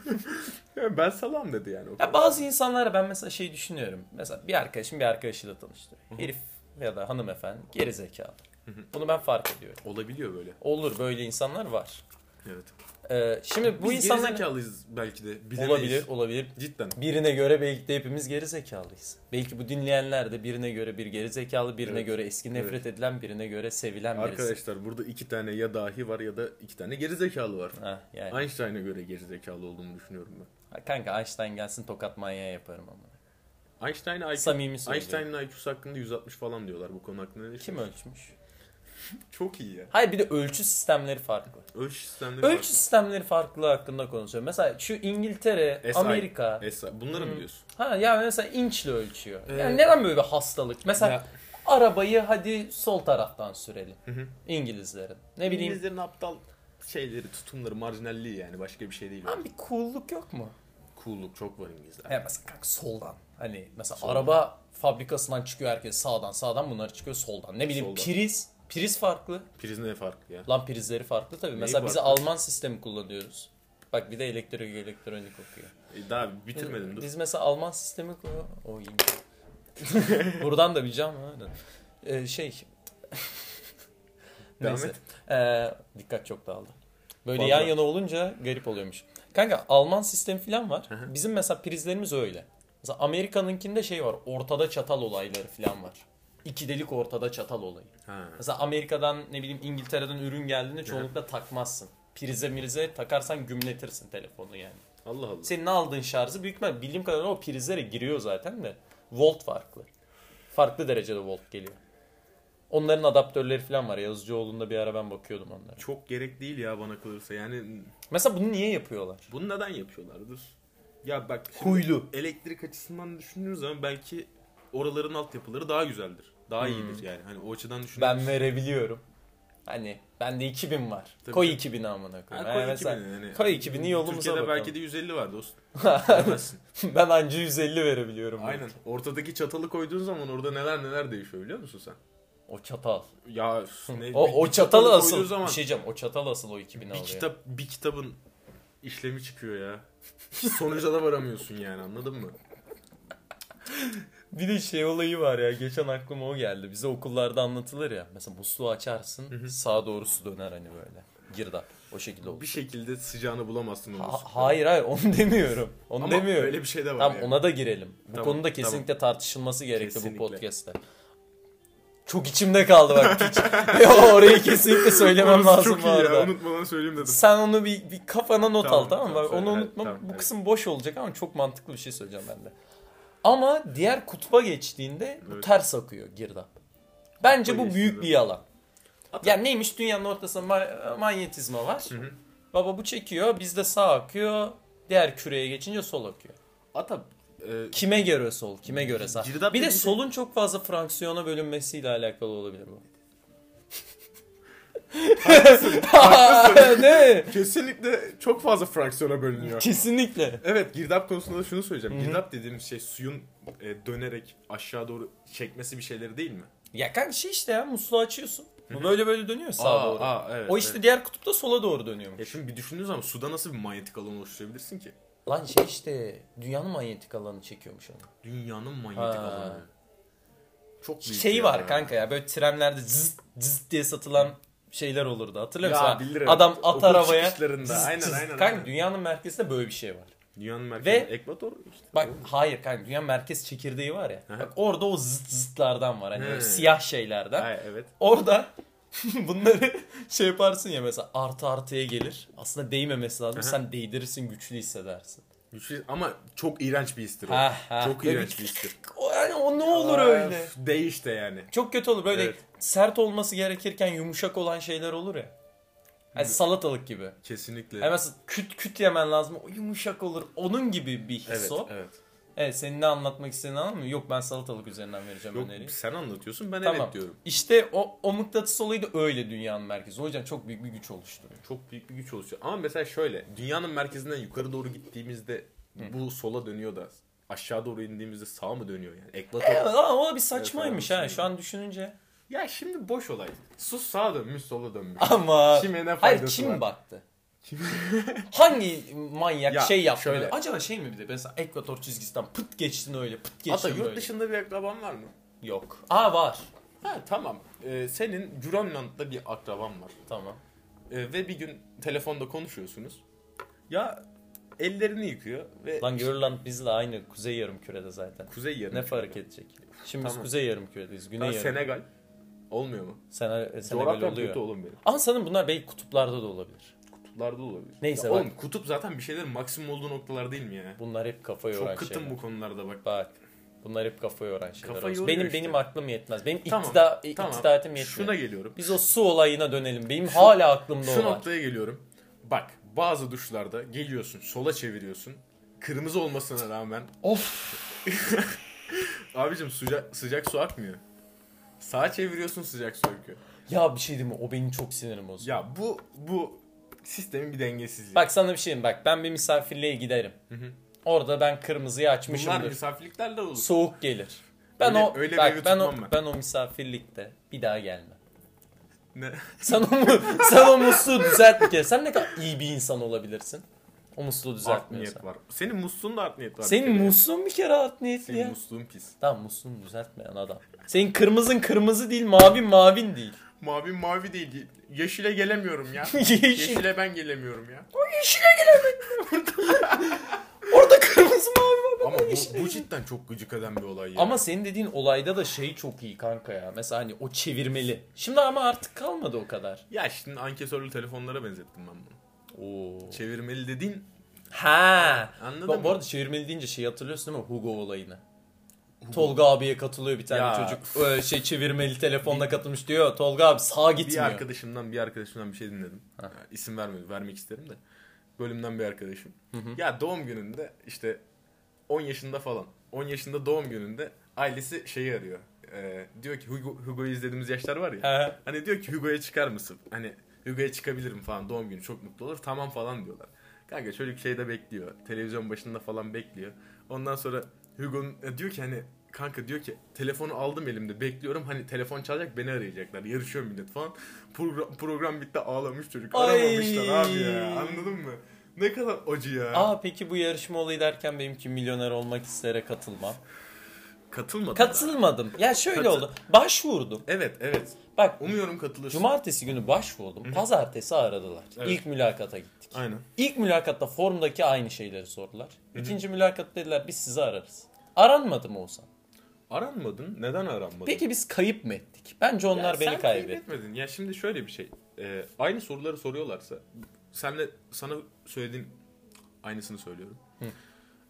Speaker 2: Ya ben salam dedi yani. O kadın.
Speaker 1: Ya bazı insanlara ben mesela şey düşünüyorum. Mesela bir arkadaşım bir arkadaşıyla tanıştırıyor. Herif ya da hanımefendi geri zekalı. Bunu ben fark ediyorum.
Speaker 2: Olabiliyor böyle.
Speaker 1: Olur böyle insanlar var.
Speaker 2: Evet.
Speaker 1: Ee, şimdi bu
Speaker 2: Bu Biz
Speaker 1: insanlar
Speaker 2: gerizekalıyız belki de. Bilemeyiz.
Speaker 1: olabilir, olabilir.
Speaker 2: Cidden.
Speaker 1: Birine göre belki de hepimiz geri zekalıyız. Belki bu dinleyenler de birine göre bir geri zekalı, birine
Speaker 2: Evet.
Speaker 1: göre eski nefret edilen, birine göre sevilen birisi.
Speaker 2: Arkadaşlar burada iki tane ya dahi var ya da iki tane gerizekalı var.
Speaker 1: Ha, yani.
Speaker 2: Einstein'a göre gerizekalı olduğunu düşünüyorum ben.
Speaker 1: Ha, Kanka Einstein gelsin tokat manyağı yaparım ama.
Speaker 2: Einstein IQ,
Speaker 1: Samimi söylüyorum.
Speaker 2: Einstein'ın IQ'su hakkında 160 falan diyorlar bu konu hakkında. Ne
Speaker 1: Kim
Speaker 2: düşünüyorsun?
Speaker 1: ölçmüş?
Speaker 2: Çok iyi ya.
Speaker 1: Hayır bir de ölçü sistemleri farklı.
Speaker 2: Ölçü sistemleri
Speaker 1: Ölçü sistemleri farklı hakkında konuşuyorum. Mesela şu İngiltere,
Speaker 2: SI.
Speaker 1: Amerika.
Speaker 2: farklı. Esa- Bunları
Speaker 1: Hmm.
Speaker 2: mı diyorsun?
Speaker 1: Ha yani mesela inçle ölçüyor. Yani
Speaker 2: Ee,
Speaker 1: neden böyle bir hastalık? Mesela
Speaker 2: Ya.
Speaker 1: arabayı hadi sol taraftan sürelim.
Speaker 2: hı.
Speaker 1: İngilizlerin. Ne bileyim.
Speaker 2: İngilizlerin aptal şeyleri, tutumları, marjinalliği yani başka bir şey değil.
Speaker 1: Lan bir cool'luk yok mu?
Speaker 2: Cool'luk çok var İngilizler.
Speaker 1: Ya mesela kanka soldan. Hani mesela araba fabrikasından çıkıyor herkes sağdan sağdan bunlar çıkıyor soldan. Ne bileyim
Speaker 2: Soldan.
Speaker 1: priz. Priz farklı.
Speaker 2: Priz ne farkı ya?
Speaker 1: Lan prizleri farklı tabii.
Speaker 2: Neyi
Speaker 1: mesela biz
Speaker 2: farklı?
Speaker 1: Alman sistemi kullanıyoruz. Bak bir de elektrik elektronik okuyor.
Speaker 2: E, daha bitirmedim dur.
Speaker 1: Biz mesela Alman sistemi kullan- O iyi. *laughs* Buradan da bileceğim aynen. Ee, şey.
Speaker 2: Devam
Speaker 1: Neyse.
Speaker 2: et.
Speaker 1: Ee, dikkat çok dağıldı. Böyle
Speaker 2: Vallahi.
Speaker 1: yan yana olunca garip oluyormuş. Kanka Alman sistemi falan var.
Speaker 2: hı.
Speaker 1: Bizim mesela prizlerimiz öyle. Mesela Amerika'nınkinde şey var. Ortada çatal olayları falan var. İki delik ortada çatal olayı.
Speaker 2: Ha.
Speaker 1: Mesela Amerika'dan ne bileyim İngiltere'den ürün geldiğinde çoğunlukla takmazsın. Prize mirize takarsan gümletirsin telefonu yani.
Speaker 2: Allah Allah.
Speaker 1: Senin aldığın şarjı büyük ihtimal bildiğim kadarıyla o prizlere giriyor zaten de. Volt farklı. Farklı derecede volt geliyor. Onların adaptörleri falan var. Yazıcıoğlu'nda bir ara ben bakıyordum onlara.
Speaker 2: Çok gerek değil ya bana kalırsa. Yani
Speaker 1: Mesela bunu niye yapıyorlar?
Speaker 2: bunu neden yapıyorlardır? Ya bak şimdi
Speaker 1: Huylu.
Speaker 2: elektrik açısından düşündüğünüz zaman belki oraların altyapıları daha güzeldir. Daha iyidir yani. Hani o açıdan düşünüyorum.
Speaker 1: Hmm. Ben verebiliyorum. Hani bende 2000 var.
Speaker 2: Tabii
Speaker 1: koy
Speaker 2: canım.
Speaker 1: 2000 amına
Speaker 2: Ha,
Speaker 1: koyayım.
Speaker 2: koy
Speaker 1: Yani mesela
Speaker 2: 2000'i yani.
Speaker 1: koy 2000'i yolumuza
Speaker 2: Türkiye'de
Speaker 1: bakalım. *laughs*
Speaker 2: belki de 150 var dostum. Bilemezsin.
Speaker 1: ben anca 150 verebiliyorum.
Speaker 2: Aynen. Ortadaki çatalı koyduğun zaman orada neler neler değişiyor biliyor musun sen?
Speaker 1: O çatal.
Speaker 2: Ya üf, *laughs* ne,
Speaker 1: O, o
Speaker 2: bir
Speaker 1: çatalı
Speaker 2: koyduğu
Speaker 1: asıl.
Speaker 2: zaman
Speaker 1: Bir şey diyeceğim. O çatal asıl o 2000
Speaker 2: bir
Speaker 1: alıyor.
Speaker 2: kitap bir kitabın işlemi çıkıyor ya. Sonuca da varamıyorsun yani anladın mı?
Speaker 1: Bir de şey olayı var ya geçen aklıma o geldi. Bize okullarda anlatılır ya. Mesela musluğu açarsın sağa doğru su döner hani böyle. Girdap. O şekilde olur.
Speaker 2: Bir şey şekilde sıcağını bulamazsın onu.
Speaker 1: Ha- hayır hayır onu *laughs* demiyorum. Onu
Speaker 2: Ama
Speaker 1: demiyorum.
Speaker 2: öyle bir şey de var
Speaker 1: Tamam
Speaker 2: yani.
Speaker 1: ona da girelim. Bu
Speaker 2: Tamam,
Speaker 1: konuda kesinlikle tartışılması gerekti
Speaker 2: Kesinlikle.
Speaker 1: bu podcast'te. Çok içimde kaldı bak piç. Yo, *laughs* Orayı kesinlikle söylemem
Speaker 2: Orası
Speaker 1: lazım
Speaker 2: çok
Speaker 1: bu
Speaker 2: iyi
Speaker 1: arada.
Speaker 2: ya unutmadan söyleyeyim dedim.
Speaker 1: Sen onu bir, bir kafana not
Speaker 2: Tamam,
Speaker 1: al tamam mı?
Speaker 2: tamam,
Speaker 1: Bak, onu
Speaker 2: söyle.
Speaker 1: unutma.
Speaker 2: Tamam,
Speaker 1: bu
Speaker 2: evet.
Speaker 1: kısım boş olacak ama çok mantıklı bir şey söyleyeceğim ben de. Ama diğer kutba geçtiğinde bu
Speaker 2: Evet.
Speaker 1: ters akıyor girdap. Bence
Speaker 2: Kutba
Speaker 1: bu büyük
Speaker 2: geçtiğinde.
Speaker 1: bir yalan. Yani neymiş dünyanın ortasında ma- manyetizma var.
Speaker 2: hı.
Speaker 1: Baba bu çekiyor, bizde sağ akıyor. Diğer küreye geçince sol akıyor.
Speaker 2: Ata e,
Speaker 1: Kime göre sol, kime göre sağ.
Speaker 2: Girdap
Speaker 1: bir de
Speaker 2: dediğin- şey-
Speaker 1: solun çok fazla fraksiyona bölünmesiyle alakalı olabilir
Speaker 2: *laughs*
Speaker 1: bu. *laughs* ne?
Speaker 2: kesinlikle çok fazla
Speaker 1: *laughs*
Speaker 2: fraksiyona bölünüyor.
Speaker 1: Kesinlikle.
Speaker 2: Evet girdap konusunda da şunu söyleyeceğim. Girdap dediğimiz şey suyun e, dönerek aşağı doğru çekmesi bir şeyleri değil mi?
Speaker 1: Ya kanka şey işte ya musluğu açıyorsun. Bu böyle böyle dönüyor sağa
Speaker 2: Aa,
Speaker 1: doğru.
Speaker 2: aa, evet,
Speaker 1: o işte
Speaker 2: evet.
Speaker 1: diğer kutupta sola doğru dönüyormuş.
Speaker 2: Ya şimdi bir düşündüğün zaman suda nasıl bir manyetik alan oluşturabilirsin ki?
Speaker 1: Lan şey işte dünyanın manyetik alanı çekiyormuş onu.
Speaker 2: Dünyanın manyetik
Speaker 1: Ha.
Speaker 2: alanı. Çok büyük
Speaker 1: Şey
Speaker 2: ya.
Speaker 1: var kanka ya böyle trenlerde zızt zızt diye satılan şeyler olurdu hatırlıyor
Speaker 2: Ya
Speaker 1: musun?
Speaker 2: bilirim.
Speaker 1: Adam at
Speaker 2: Okul
Speaker 1: arabaya
Speaker 2: çıkışlarında.
Speaker 1: zızt
Speaker 2: Aynen,
Speaker 1: zızt.
Speaker 2: aynen,
Speaker 1: Kanka
Speaker 2: aynen.
Speaker 1: dünyanın merkezinde böyle bir şey var.
Speaker 2: Dünyanın merkezi
Speaker 1: Ve-
Speaker 2: ekvator işte.
Speaker 1: Bak
Speaker 2: Doğru.
Speaker 1: hayır kanka dünya merkez çekirdeği var ya.
Speaker 2: Aha.
Speaker 1: Bak orada o zıt zıtlardan var hani böyle
Speaker 2: He.
Speaker 1: siyah şeylerden.
Speaker 2: Ay, evet.
Speaker 1: Orada *laughs* bunları şey yaparsın ya mesela artı artıya gelir. Aslında değmemesi lazım. Sen değdirirsin güçlü hissedersin.
Speaker 2: Güçlü- ama çok iğrenç bir histir o.
Speaker 1: Ha, ha.
Speaker 2: Çok
Speaker 1: Böyle
Speaker 2: iğrenç bir histir.
Speaker 1: O, yani o ne olur öyle.
Speaker 2: Öf, De işte yani.
Speaker 1: Çok kötü olur böyle
Speaker 2: Evet.
Speaker 1: sert olması gerekirken yumuşak olan şeyler olur ya. Yani salatalık gibi.
Speaker 2: Kesinlikle.
Speaker 1: Yani mesela küt küt yemen lazım. O yumuşak olur. Onun gibi bir his
Speaker 2: Evet,
Speaker 1: o. Evet.
Speaker 2: evet.
Speaker 1: senin ne anlatmak istediğini anladın mı? Yok ben salatalık üzerinden vereceğim
Speaker 2: Yok
Speaker 1: öneriyi.
Speaker 2: sen anlatıyorsun ben
Speaker 1: Tamam.
Speaker 2: evet diyorum.
Speaker 1: İşte o, o mıknatıs olayı da öyle dünyanın merkezi. O yüzden çok büyük bir güç oluşturuyor.
Speaker 2: Çok büyük bir güç oluşuyor. Ama mesela şöyle dünyanın merkezinden yukarı doğru gittiğimizde bu sola dönüyor da aşağı doğru indiğimizde sağa mı dönüyor yani? Ekvator.
Speaker 1: Evet, ama o da bir saçmaymış
Speaker 2: Evet,
Speaker 1: ha şu an düşününce.
Speaker 2: Ya şimdi boş olay. Sus sağa dönmüş sola dönmüş. *laughs*
Speaker 1: Ama
Speaker 2: Kime ne faydası
Speaker 1: hayır kim
Speaker 2: var?
Speaker 1: baktı? *laughs* Hangi manyak
Speaker 2: Ya,
Speaker 1: şey yaptı?
Speaker 2: şöyle.
Speaker 1: böyle? Acaba şey mi bir de mesela ekvator çizgisinden pıt geçtin öyle pıt
Speaker 2: Ata
Speaker 1: geçtin
Speaker 2: yurt
Speaker 1: böyle.
Speaker 2: dışında bir akraban var mı?
Speaker 1: Yok. Aa var.
Speaker 2: Ha tamam. Ee, senin Grönland'da bir akraban var.
Speaker 1: Tamam.
Speaker 2: E, ve bir gün telefonda konuşuyorsunuz. Ya ellerini yıkıyor ve
Speaker 1: Lan Grönland bizle aynı kuzey yarım kürede zaten.
Speaker 2: kuzey yarım.
Speaker 1: Ne fark edecek? Şimdi biz
Speaker 2: Tamam.
Speaker 1: kuzey yarım küredeyiz. Güney
Speaker 2: Ha,
Speaker 1: yarım. Senegal,
Speaker 2: Senegal. Olmuyor mu?
Speaker 1: Senegal,
Speaker 2: Coğrafyam
Speaker 1: oluyor.
Speaker 2: kötü oğlum benim.
Speaker 1: Ama sanırım bunlar belki kutuplarda da olabilir.
Speaker 2: Kutuplarda da olabilir.
Speaker 1: Neyse
Speaker 2: Ya
Speaker 1: bak.
Speaker 2: oğlum kutup zaten bir şeylerin maksimum olduğu noktalar değil mi ya?
Speaker 1: Bunlar hep kafa yoran
Speaker 2: Çok kıtım
Speaker 1: şeyler.
Speaker 2: bu konularda bak.
Speaker 1: Bak. Bunlar hep kafa yoran şeyler.
Speaker 2: Kafa
Speaker 1: olsun.
Speaker 2: yoruyor
Speaker 1: benim
Speaker 2: işte.
Speaker 1: benim aklım yetmez. Benim
Speaker 2: Tamam,
Speaker 1: iktida,
Speaker 2: tamam.
Speaker 1: iktidaatim yetmiyor.
Speaker 2: Şuna geliyorum.
Speaker 1: Biz o su olayına dönelim. Benim
Speaker 2: Şu-
Speaker 1: hala aklımda o
Speaker 2: Şu
Speaker 1: var.
Speaker 2: noktaya geliyorum. Bak bazı duşlarda geliyorsun sola çeviriyorsun. Kırmızı olmasına rağmen.
Speaker 1: Of.
Speaker 2: Abicim sıcak, sıcak su akmıyor. Sağa çeviriyorsun sıcak su akıyor.
Speaker 1: Ya bir şey değil mi? O benim çok sinirim bozuyor.
Speaker 2: Ya bu bu sistemin bir dengesizliği.
Speaker 1: Bak sana bir şey diyeyim. Bak ben bir misafirliğe giderim.
Speaker 2: hı.
Speaker 1: Orada ben kırmızıyı
Speaker 2: Bunlar
Speaker 1: açmışımdır.
Speaker 2: misafirliklerle olur.
Speaker 1: Soğuk gelir. Ben
Speaker 2: Öyle-
Speaker 1: o
Speaker 2: öyle bir evi
Speaker 1: bak, ben o
Speaker 2: tutmam ben.
Speaker 1: ben o misafirlikte bir daha gelmem.
Speaker 2: Ne?
Speaker 1: Sen o, mu- *laughs* sen o musluğu düzelt bir kere. Sen ne kadar iyi bir insan olabilirsin. O musluğu
Speaker 2: art
Speaker 1: düzeltmiyorsan.
Speaker 2: niyet var. Senin musluğun da art niyet var.
Speaker 1: Senin
Speaker 2: Bir kere.
Speaker 1: musluğun bir kere alt niyetli
Speaker 2: Senin
Speaker 1: ya.
Speaker 2: musluğun pis.
Speaker 1: Tamam musluğunu düzeltmeyen adam. Senin kırmızın kırmızı değil mavi mavin değil. *laughs*
Speaker 2: Mavi mavi değil. Yeşile gelemiyorum ya.
Speaker 1: Yeşil.
Speaker 2: Yeşile ben gelemiyorum ya.
Speaker 1: *laughs* Orada kırmızı mavi var.
Speaker 2: Ama bu, bu cidden çok gıcık eden bir olay ya.
Speaker 1: Ama senin dediğin olayda da şey çok iyi kanka ya. Mesela hani o çevirmeli. Şimdi ama artık kalmadı o kadar.
Speaker 2: Ya şimdi ankesörlü telefonlara benzettim ben bunu.
Speaker 1: Oo.
Speaker 2: Çevirmeli dediğin
Speaker 1: Ha.
Speaker 2: anladın
Speaker 1: Bak,
Speaker 2: mı?
Speaker 1: bu arada çevirmeli deyince şey hatırlıyorsun değil mi? Hugo olayını. Tolga abiye katılıyor bir tane
Speaker 2: Ya.
Speaker 1: çocuk. Ee, şey çevirmeli telefonla katılmış diyor. Tolga abi sağ
Speaker 2: bir
Speaker 1: gitmiyor.
Speaker 2: arkadaşımdan bir arkadaşımdan bir şey dinledim.
Speaker 1: Ha.
Speaker 2: Ya, isim vermedi, vermek isterim de. Bölümden bir arkadaşım.
Speaker 1: hı.
Speaker 2: Ya doğum gününde işte 10 yaşında falan. 10 yaşında doğum gününde ailesi şeyi arıyor. Ee, diyor ki Hugo, Hugo'yu izlediğimiz yaşlar var ya.
Speaker 1: He.
Speaker 2: Hani diyor ki Hugo'ya çıkar mısın? Hani Hugo'ya çıkabilirim falan doğum günü çok mutlu olur. Tamam falan diyorlar. Kanka çocuk şeyde bekliyor. Televizyon başında falan bekliyor. Ondan sonra Hugo'nun e, diyor ki hani kanka diyor ki telefonu aldım elimde bekliyorum. Hani telefon çalacak beni arayacaklar. Yarışıyor millet falan. Program, program bitti ağlamış çocuk.
Speaker 1: Ay.
Speaker 2: Aramamışlar abi ya. Anladın mı? Ne kadar acı ya.
Speaker 1: Aa peki bu yarışma olayı derken benimki milyoner olmak istere katılmam.
Speaker 2: Katılmadın mı?
Speaker 1: Katılmadım. Ya şöyle
Speaker 2: Katıl-
Speaker 1: oldu. Başvurdum.
Speaker 2: Evet evet.
Speaker 1: Bak
Speaker 2: Umuyorum katılırsın.
Speaker 1: cumartesi günü başvurdum. Pazartesi aradılar.
Speaker 2: Evet.
Speaker 1: İlk mülakata gittik.
Speaker 2: Aynen.
Speaker 1: İlk mülakatta formdaki aynı şeyleri sordular. İkinci mülakatta dediler biz sizi ararız. Aranmadı mı Oğuzhan?
Speaker 2: Aranmadın. Neden aranmadın?
Speaker 1: Peki biz kayıp mı ettik? Bence onlar
Speaker 2: Ya
Speaker 1: beni
Speaker 2: sen
Speaker 1: kaybetti.
Speaker 2: kaybetmedin. Ya şimdi şöyle bir şey. Ee, aynı soruları soruyorlarsa senle sana söylediğim aynısını söylüyorum.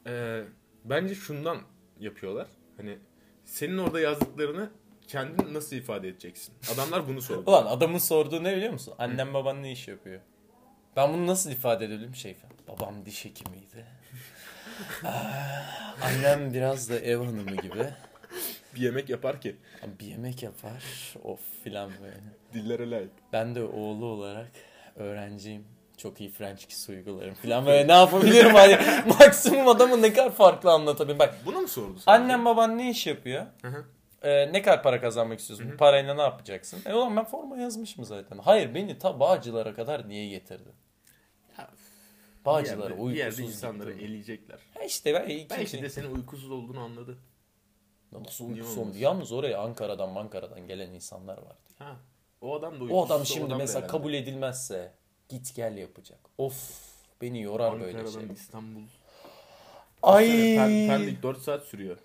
Speaker 2: Ee, bence şundan yapıyorlar. Hani senin orada yazdıklarını kendin nasıl ifade edeceksin? Adamlar bunu sordu.
Speaker 1: *laughs* Ulan adamın sorduğu ne biliyor musun? Annem baban ne iş yapıyor? Ben bunu nasıl ifade edebilirim şey falan. Babam diş hekimiydi.
Speaker 2: *laughs*
Speaker 1: Ah, Annem biraz da ev hanımı gibi.
Speaker 2: bir yemek yapar ki
Speaker 1: Bir yemek yapar. Of filan böyle.
Speaker 2: dillere layık.
Speaker 1: Ben de oğlu olarak öğrenciyim. Çok iyi French kiss uygularım falan böyle ne yapabilirim hani *laughs* maksimum adamı ne kadar farklı anlatabilirim. Bak
Speaker 2: Bunu mu sordu? sana?
Speaker 1: annem baban ne iş yapıyor?
Speaker 2: hı.
Speaker 1: Ee, ne kadar para kazanmak istiyorsun? Bu parayla ne yapacaksın? E ulan ben forma yazmışım zaten. Hayır beni ta Bağcılar'a kadar niye getirdin?
Speaker 2: Ya,
Speaker 1: Bağcılar'a
Speaker 2: bir yerde, bir
Speaker 1: uykusuz
Speaker 2: yerde insanları
Speaker 1: gittim. şey
Speaker 2: eleyecekler.
Speaker 1: Ha işte ben ikinci...
Speaker 2: Belki de senin uykusuz olduğunu anladı.
Speaker 1: Nasıl
Speaker 2: Niye
Speaker 1: uykusuz
Speaker 2: olmasın?
Speaker 1: oldu? Yalnız oraya Ankara'dan Ankara'dan gelen insanlar vardı.
Speaker 2: Ha. O adam
Speaker 1: O
Speaker 2: da uykusuz.
Speaker 1: adam şimdi
Speaker 2: da
Speaker 1: mesela
Speaker 2: herhalde.
Speaker 1: kabul edilmezse git gel yapacak. Of beni yorar böyle şey.
Speaker 2: Ankara'dan İstanbul
Speaker 1: Ay.
Speaker 2: Pen- Pendik 4 saat sürüyor.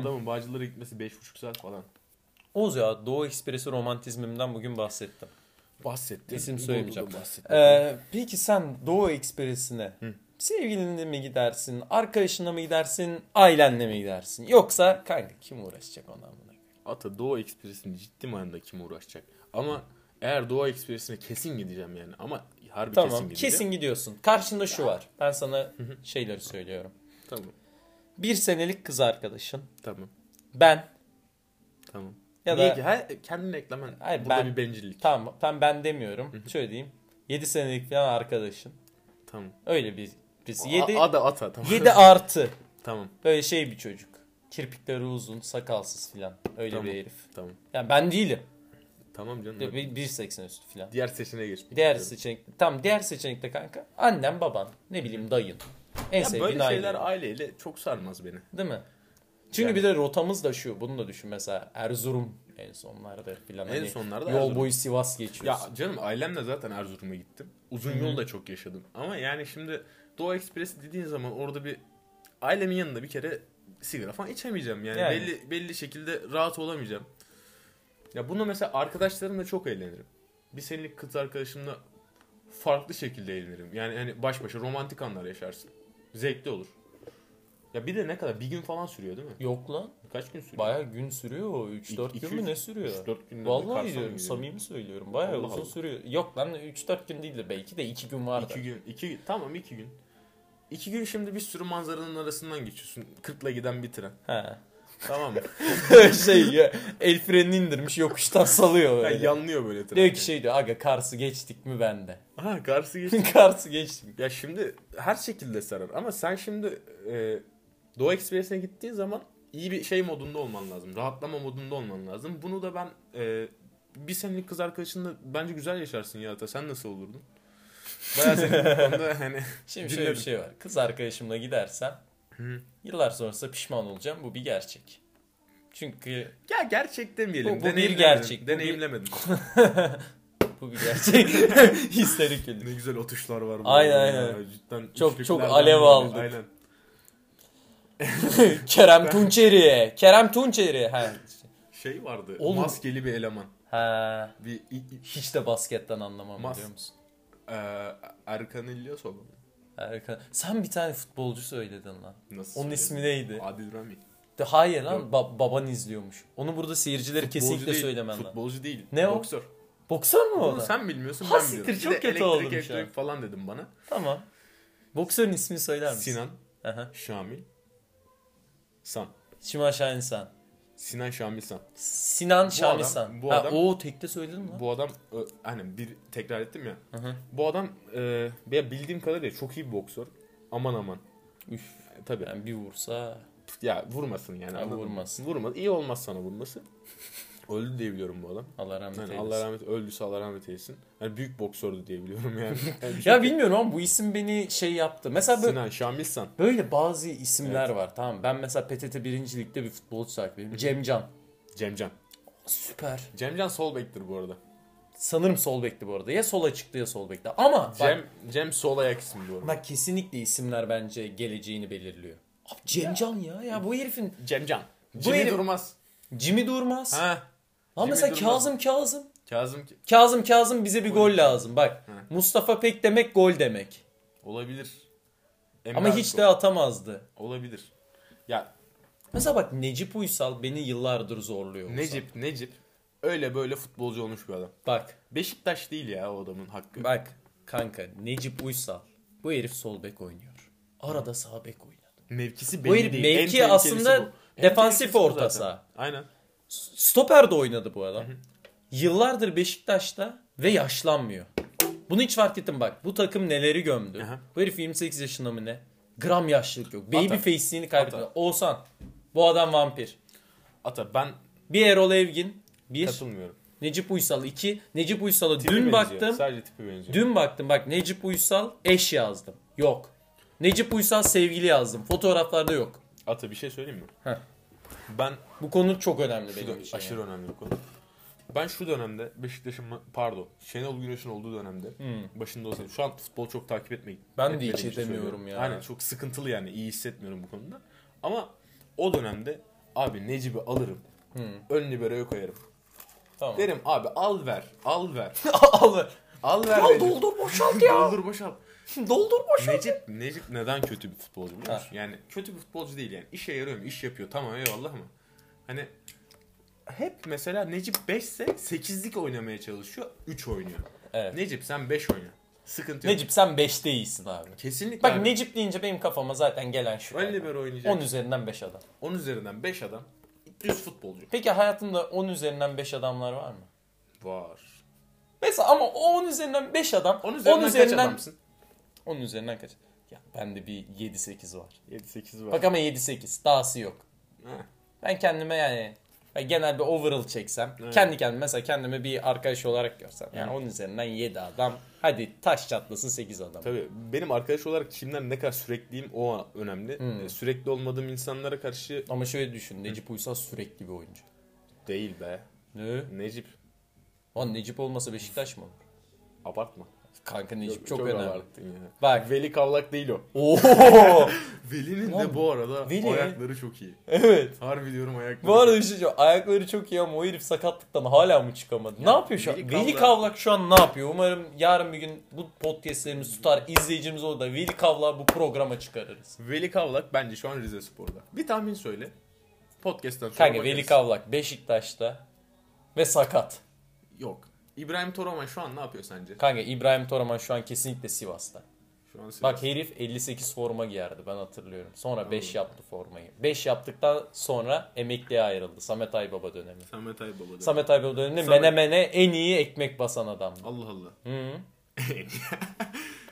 Speaker 2: Adamın Bağcılar'a gitmesi 5,5 saat falan.
Speaker 1: Oğuz ya Doğu Ekspresi romantizmimden bugün bahsettim.
Speaker 2: Bahsettin.
Speaker 1: İsim söylemeyeceğim.
Speaker 2: Doğrudan bahsettin.
Speaker 1: Ee, peki sen Doğu Ekspresi'ne sevgilinle mi gidersin, arkadaşınla mı gidersin, ailenle mi gidersin? Yoksa kanka kim uğraşacak ona amına?
Speaker 2: Ata Doğu Ekspresi'ni ciddi manada kim uğraşacak? Ama eğer Doğu Ekspresi'ne kesin gideceğim yani. Ama harbi
Speaker 1: Tamam
Speaker 2: kesin
Speaker 1: kesin,
Speaker 2: gideceğim.
Speaker 1: gidiyorsun. Karşında şu var. Ben sana şeyleri söylüyorum.
Speaker 2: Tamam.
Speaker 1: Bir senelik kız arkadaşın,
Speaker 2: Tamam. ben
Speaker 1: ben,
Speaker 2: Tamam.
Speaker 1: Ya
Speaker 2: Niye
Speaker 1: da-
Speaker 2: ki? Her, kendini reklam
Speaker 1: Hayır,
Speaker 2: Burada
Speaker 1: ben-
Speaker 2: bir bencillik.
Speaker 1: tamam ben, ben demiyorum. Şöyle diyeyim. 7 senelik falan arkadaşın.
Speaker 2: Tamam.
Speaker 1: Öyle bir birisi.
Speaker 2: Yedi...
Speaker 1: 7,
Speaker 2: Ada ata. Tamam.
Speaker 1: 7 artı.
Speaker 2: *laughs* Tamam.
Speaker 1: Böyle şey bir çocuk. Kirpikleri uzun, sakalsız filan. Öyle
Speaker 2: Tamam.
Speaker 1: bir herif.
Speaker 2: Tamam.
Speaker 1: Yani ben değilim.
Speaker 2: Tamam canım.
Speaker 1: Bir- 1.80 üstü filan.
Speaker 2: Diğer seçeneğe geç.
Speaker 1: Diğer seçenekte tam diğer seçenekte kanka annem baban ne bileyim dayın. En
Speaker 2: Ya
Speaker 1: sevdiğin
Speaker 2: böyle
Speaker 1: aile.
Speaker 2: şeyler aileyle çok sarmaz beni.
Speaker 1: Değil mi? Çünkü
Speaker 2: Yani-
Speaker 1: bir de rotamız da şu. Bunu da düşün mesela Erzurum en sonlarda filan. Hani
Speaker 2: En sonlarda
Speaker 1: Yol
Speaker 2: Erzurum.
Speaker 1: boyu Sivas geçiyorsun.
Speaker 2: Ya canım ailemle zaten Erzurum'a gittim. Uzun yol da çok yaşadım. Ama yani şimdi Doğu Ekspresi dediğin zaman orada bir ailemin yanında bir kere sigara falan içemeyeceğim. Yani,
Speaker 1: Yani.
Speaker 2: belli belli şekilde rahat olamayacağım. Ya bunda mesela arkadaşlarımla çok eğlenirim. Bir senelik kız arkadaşımla farklı şekilde eğlenirim. Yani hani baş başa romantik anlar yaşarsın. Zevkli olur. Ya bir de ne kadar? Bir gün falan sürüyor değil mi?
Speaker 1: Yok lan.
Speaker 2: Kaç gün sürüyor?
Speaker 1: Bayağı gün sürüyor. o. 3-4
Speaker 2: İki-
Speaker 1: gün mü ne sürüyor?
Speaker 2: 3-4 günde
Speaker 1: Vallahi diyorum samimi söylüyorum. Bayağı
Speaker 2: Allah
Speaker 1: uzun
Speaker 2: Allah.
Speaker 1: sürüyor. Yok lan 3-4 gün değildir belki de 2 gün vardı.
Speaker 2: 2 gün. 2 tamam 2 gün. 2 gün şimdi bir sürü manzaranın arasından geçiyorsun. 40'la giden bir tren.
Speaker 1: He.
Speaker 2: Tamam mı?
Speaker 1: şey ya, el frenini indirmiş yokuştan salıyor *laughs*
Speaker 2: Yani
Speaker 1: böyle.
Speaker 2: yanlıyor böyle tren.
Speaker 1: diyor ki şey diyor aga Kars'ı geçtik mi bende. *laughs*
Speaker 2: Ha karşı geçti.
Speaker 1: Kars'ı geçtik. mi?
Speaker 2: ya şimdi her şekilde sarar ama sen şimdi e, Doğu Ekspresi'ne gittiğin zaman iyi bir şey modunda olman lazım. Rahatlama modunda olman lazım. Bunu da ben e, bir senelik kız arkadaşınla bence güzel yaşarsın ya Ata. Sen nasıl olurdun? Bayağı senin bu konuda *laughs* hani
Speaker 1: Şimdi şöyle
Speaker 2: Dinledim.
Speaker 1: bir şey var. Kız arkadaşımla gidersem
Speaker 2: Hı.
Speaker 1: yıllar sonrasında pişman olacağım. Bu bir gerçek. Çünkü
Speaker 2: ya gerçek demeyelim.
Speaker 1: Bu- bu bir
Speaker 2: Deneyimlemedim.
Speaker 1: gerçek. Bu bir-
Speaker 2: Deneyimlemedim.
Speaker 1: bu bir
Speaker 2: *laughs*
Speaker 1: gerçek. Histerik güldüm.
Speaker 2: Ne güzel atışlar var. bu
Speaker 1: Aynen,
Speaker 2: arada ya.
Speaker 1: aynen.
Speaker 2: Cidden
Speaker 1: Çok-
Speaker 2: üçlüklerden
Speaker 1: çok alev
Speaker 2: biri.
Speaker 1: aldık.
Speaker 2: Aynen.
Speaker 1: Kerem Tunçeri. Kerem Tunçeri. Ha.
Speaker 2: Şey vardı.
Speaker 1: Oğlum.
Speaker 2: Maskeli bir eleman.
Speaker 1: ha.
Speaker 2: Bir i- i-
Speaker 1: Hiç de basketten anlamam
Speaker 2: Mas-
Speaker 1: biliyor musun?
Speaker 2: e, Erkan İlyasov. mu?
Speaker 1: Harika. Sen bir tane futbolcu söyledin lan.
Speaker 2: Nasıl
Speaker 1: Onun
Speaker 2: söyledim?
Speaker 1: ismi neydi?
Speaker 2: Adil Rami.
Speaker 1: De, hayır lan
Speaker 2: Yok.
Speaker 1: ba- baban izliyormuş. Onu burada seyircileri
Speaker 2: Futbolcu
Speaker 1: kesinlikle
Speaker 2: değil,
Speaker 1: söylemen lazım.
Speaker 2: Futbolcu değil.
Speaker 1: Ne o?
Speaker 2: Boksör.
Speaker 1: Boksör mü o da?
Speaker 2: Bunu sen bilmiyorsun
Speaker 1: Ha,
Speaker 2: ben
Speaker 1: siktir,
Speaker 2: biliyorum. Bir
Speaker 1: çok
Speaker 2: de
Speaker 1: kötü
Speaker 2: elektrik,
Speaker 1: oldum şu
Speaker 2: elektrik
Speaker 1: an.
Speaker 2: falan dedim bana.
Speaker 1: Tamam. Boksörün ismini söyler misin?
Speaker 2: Sinan,
Speaker 1: Aha.
Speaker 2: Şamil, San.
Speaker 1: Şiman Şahinsan.
Speaker 2: Sinan Şamil San.
Speaker 1: Sinan
Speaker 2: Bu
Speaker 1: Şahinsan.
Speaker 2: adam- bu
Speaker 1: Ha,
Speaker 2: adam-
Speaker 1: Oo tekte söyledin mi? lan?
Speaker 2: Bu adam ö, hani bir tekrar ettim ya.
Speaker 1: Hı hı.
Speaker 2: Bu adam e, ya bildiğim kadarıyla çok iyi bir boksör. Aman aman.
Speaker 1: Üf.
Speaker 2: E, Tabii.
Speaker 1: Yani bir vursa.
Speaker 2: Ya vurmasın yani.
Speaker 1: Ha,
Speaker 2: anladın mı?
Speaker 1: vurmasın.
Speaker 2: Vurma. İyi olmaz sana vurması. Öldü diye biliyorum bu adam.
Speaker 1: Allah rahmet
Speaker 2: Yani
Speaker 1: eylesin.
Speaker 2: Allah rahmet öldüyse Allah rahmet eylesin. Yani büyük boksördü diye
Speaker 1: *laughs*
Speaker 2: biliyorum yani. Yani
Speaker 1: Ya
Speaker 2: çünkü
Speaker 1: bilmiyorum ama bu isim beni şey yaptı. Mesela böyle,
Speaker 2: Sinan Şamilsan.
Speaker 1: böyle bazı isimler var tamam mı? Ben mesela PTT 1. Lig'de bir futbolcu takip ediyorum. Cemcan.
Speaker 2: Cemcan.
Speaker 1: Süper.
Speaker 2: Cemcan sol bektir bu arada.
Speaker 1: Sanırım sol bekti bu arada. Ya sola çıktı ya sol bekti. Ama bak,
Speaker 2: Cem Cem sol ayak ismi bu arada.
Speaker 1: bak kesinlikle isimler bence geleceğini belirliyor. Abi Cemcan ya. Ya bu herifin
Speaker 2: Cemcan.
Speaker 1: Bu
Speaker 2: Jimmy
Speaker 1: herif-
Speaker 2: Durmaz.
Speaker 1: Jimmy Durmaz.
Speaker 2: Ha.
Speaker 1: Ama
Speaker 2: Jimmy
Speaker 1: mesela
Speaker 2: Durmaz.
Speaker 1: Kazım Kazım.
Speaker 2: Kazım ki-
Speaker 1: Kazım Kazım bize bir gol lazım. Bak
Speaker 2: Ha.
Speaker 1: Mustafa Pek demek gol demek.
Speaker 2: olabilir.
Speaker 1: Ama hiç de
Speaker 2: daha
Speaker 1: atamazdı.
Speaker 2: olabilir. Ya
Speaker 1: Mesela bak Necip Uysal beni yıllardır zorluyor. Uysal.
Speaker 2: Necip Necip öyle böyle futbolcu olmuş bir adam.
Speaker 1: Bak
Speaker 2: Beşiktaş değil ya o adamın hakkı.
Speaker 1: bak kanka Necip Uysal. Bu herif sol bek oynuyor. Arada sağ bek oynadı. Bu
Speaker 2: Mevkisi belli
Speaker 1: herif
Speaker 2: değil. En
Speaker 1: mevki
Speaker 2: tehlikelisi
Speaker 1: aslında
Speaker 2: bu. En
Speaker 1: defansif
Speaker 2: tehlikelisi bu
Speaker 1: orta
Speaker 2: zaten.
Speaker 1: saha.
Speaker 2: Aynen.
Speaker 1: Stoper de oynadı bu adam. Yıllardır Beşiktaş'ta ve yaşlanmıyor. Bunu hiç fark ettim bak. Bu takım neleri gömdü.
Speaker 2: Aha.
Speaker 1: Bu herif 28 yaşında mı ne? Gram yaşlılık yok. Baby
Speaker 2: Atar.
Speaker 1: face'liğini kaybetmedi. Oğuzhan. Bu adam vampir.
Speaker 2: Ata ben
Speaker 1: Bir Erol Evgin. Bir.
Speaker 2: katılmıyorum.
Speaker 1: Necip Uysal 2. Necip Uysal'a
Speaker 2: Tipi
Speaker 1: dün
Speaker 2: benziyor,
Speaker 1: baktım.
Speaker 2: Sadece tipi benziyor.
Speaker 1: Dün baktım bak Necip Uysal eş yazdım. Yok. Necip Uysal sevgili yazdım. Fotoğraflarda yok.
Speaker 2: Ata bir şey söyleyeyim mi?
Speaker 1: Heh.
Speaker 2: Ben
Speaker 1: Bu konu çok önemli
Speaker 2: şu
Speaker 1: benim
Speaker 2: dön-
Speaker 1: için.
Speaker 2: aşırı önemli bir konu. Ben şu dönemde Beşiktaş'ın ma- pardon Şenol Güneş'in olduğu dönemde başında olsaydım şu an futbol çok takip etmeyin.
Speaker 1: Hmm. Ben de hiç
Speaker 2: etmediğim için
Speaker 1: edemiyorum
Speaker 2: söylüyorum.
Speaker 1: ya.
Speaker 2: Aynen çok sıkıntılı yani iyi hissetmiyorum bu konuda. Ama o dönemde abi Necip'i alırım. Ön liberoya koyarım.
Speaker 1: Hmm. Tamam.
Speaker 2: Derim abi al ver, al ver,
Speaker 1: *laughs* Al ver.
Speaker 2: al ver.
Speaker 1: Al
Speaker 2: Necip.
Speaker 1: doldur boşalt ya.
Speaker 2: Doldur boşalt.
Speaker 1: doldur boşalt.
Speaker 2: Necip, Necip neden kötü bir futbolcu biliyor musun? Yani kötü bir futbolcu değil yani. İşe yarıyor mu? İş yapıyor. Tamam eyvallah mı? Hani hep mesela Necip 5 ise 8'lik oynamaya çalışıyor. 3 oynuyor.
Speaker 1: Evet.
Speaker 2: Necip sen 5 oyna. Sıkıntı yok.
Speaker 1: Necip sen 5'te iyisin abi.
Speaker 2: Kesinlikle
Speaker 1: Bak
Speaker 2: abi.
Speaker 1: Necip deyince benim kafama zaten gelen şu.
Speaker 2: Ön libero oynayacak.
Speaker 1: 10
Speaker 2: 10,
Speaker 1: üzerinden 5 adam.
Speaker 2: üzerinden 5 adam. Düz futbolcu.
Speaker 1: Peki hayatında 10 üzerinden 5 adamlar var mı?
Speaker 2: Var.
Speaker 1: Mesela ama o 10 üzerinden 5 adam.
Speaker 2: 10 üzerinden, kaç adamsın?
Speaker 1: 10 üzerinden kaç? Ya bende bir 7-8 var.
Speaker 2: 7-8 var.
Speaker 1: Bak ama 7-8 dahası yok.
Speaker 2: Ha.
Speaker 1: Ben kendime yani Ya genel bir overall çeksem.
Speaker 2: Evet.
Speaker 1: Kendi kendime mesela kendimi bir arkadaş olarak görsem. Yani onun üzerinden 7 adam. Hadi taş çatlasın 8 adam.
Speaker 2: Tabii benim arkadaş olarak kimler ne kadar sürekliyim o a- önemli.
Speaker 1: Hmm.
Speaker 2: E, Sürekli olmadığım insanlara karşı
Speaker 1: Ama şöyle düşün. Necip Uysal sürekli bir oyuncu.
Speaker 2: değil be.
Speaker 1: Ne?
Speaker 2: Necip
Speaker 1: Lan Necip olmasa Beşiktaş mı olur?
Speaker 2: abartma.
Speaker 1: Kanka Necip
Speaker 2: Yok,
Speaker 1: çok, önemli.
Speaker 2: abarttın ya. *laughs*
Speaker 1: Bak.
Speaker 2: Veli Kavlak değil o.
Speaker 1: Oo. *laughs*
Speaker 2: Veli'nin
Speaker 1: Lan,
Speaker 2: de bu arada
Speaker 1: Veli-
Speaker 2: ayakları çok iyi.
Speaker 1: evet.
Speaker 2: Harbi diyorum ayakları.
Speaker 1: Bu arada bir şey söyleyeceğim. Ayakları çok iyi ama o herif sakatlıktan hala mı çıkamadı? ne yapıyor şu an?
Speaker 2: Veli
Speaker 1: Veli
Speaker 2: Kavlak-
Speaker 1: Kavlak. şu an ne yapıyor? Umarım yarın bir gün bu podcastlerimiz tutar. izleyicimiz olur da Veli Kavlak'ı bu programa çıkarırız.
Speaker 2: Veli Kavlak bence şu an Rize Spor'da. Bir tahmin söyle. Podcast'tan sonra
Speaker 1: Kanka
Speaker 2: bakarız.
Speaker 1: Veli Kavlak Beşiktaş'ta ve sakat.
Speaker 2: Yok. İbrahim Toroman şu an ne yapıyor sence?
Speaker 1: Kanka İbrahim Toraman şu an kesinlikle Sivas'ta.
Speaker 2: Şu an Sivas.
Speaker 1: Bak herif 58 forma giyerdi ben hatırlıyorum. Sonra 5 yaptı formayı. 5 yaptıktan sonra emekliye ayrıldı. Samet Aybaba dönemi.
Speaker 2: Samet Aybaba. da-
Speaker 1: Samet Aybaba döneminde
Speaker 2: Samet-
Speaker 1: menemene en iyi ekmek basan adamdı.
Speaker 2: Allah Allah.
Speaker 1: Hı.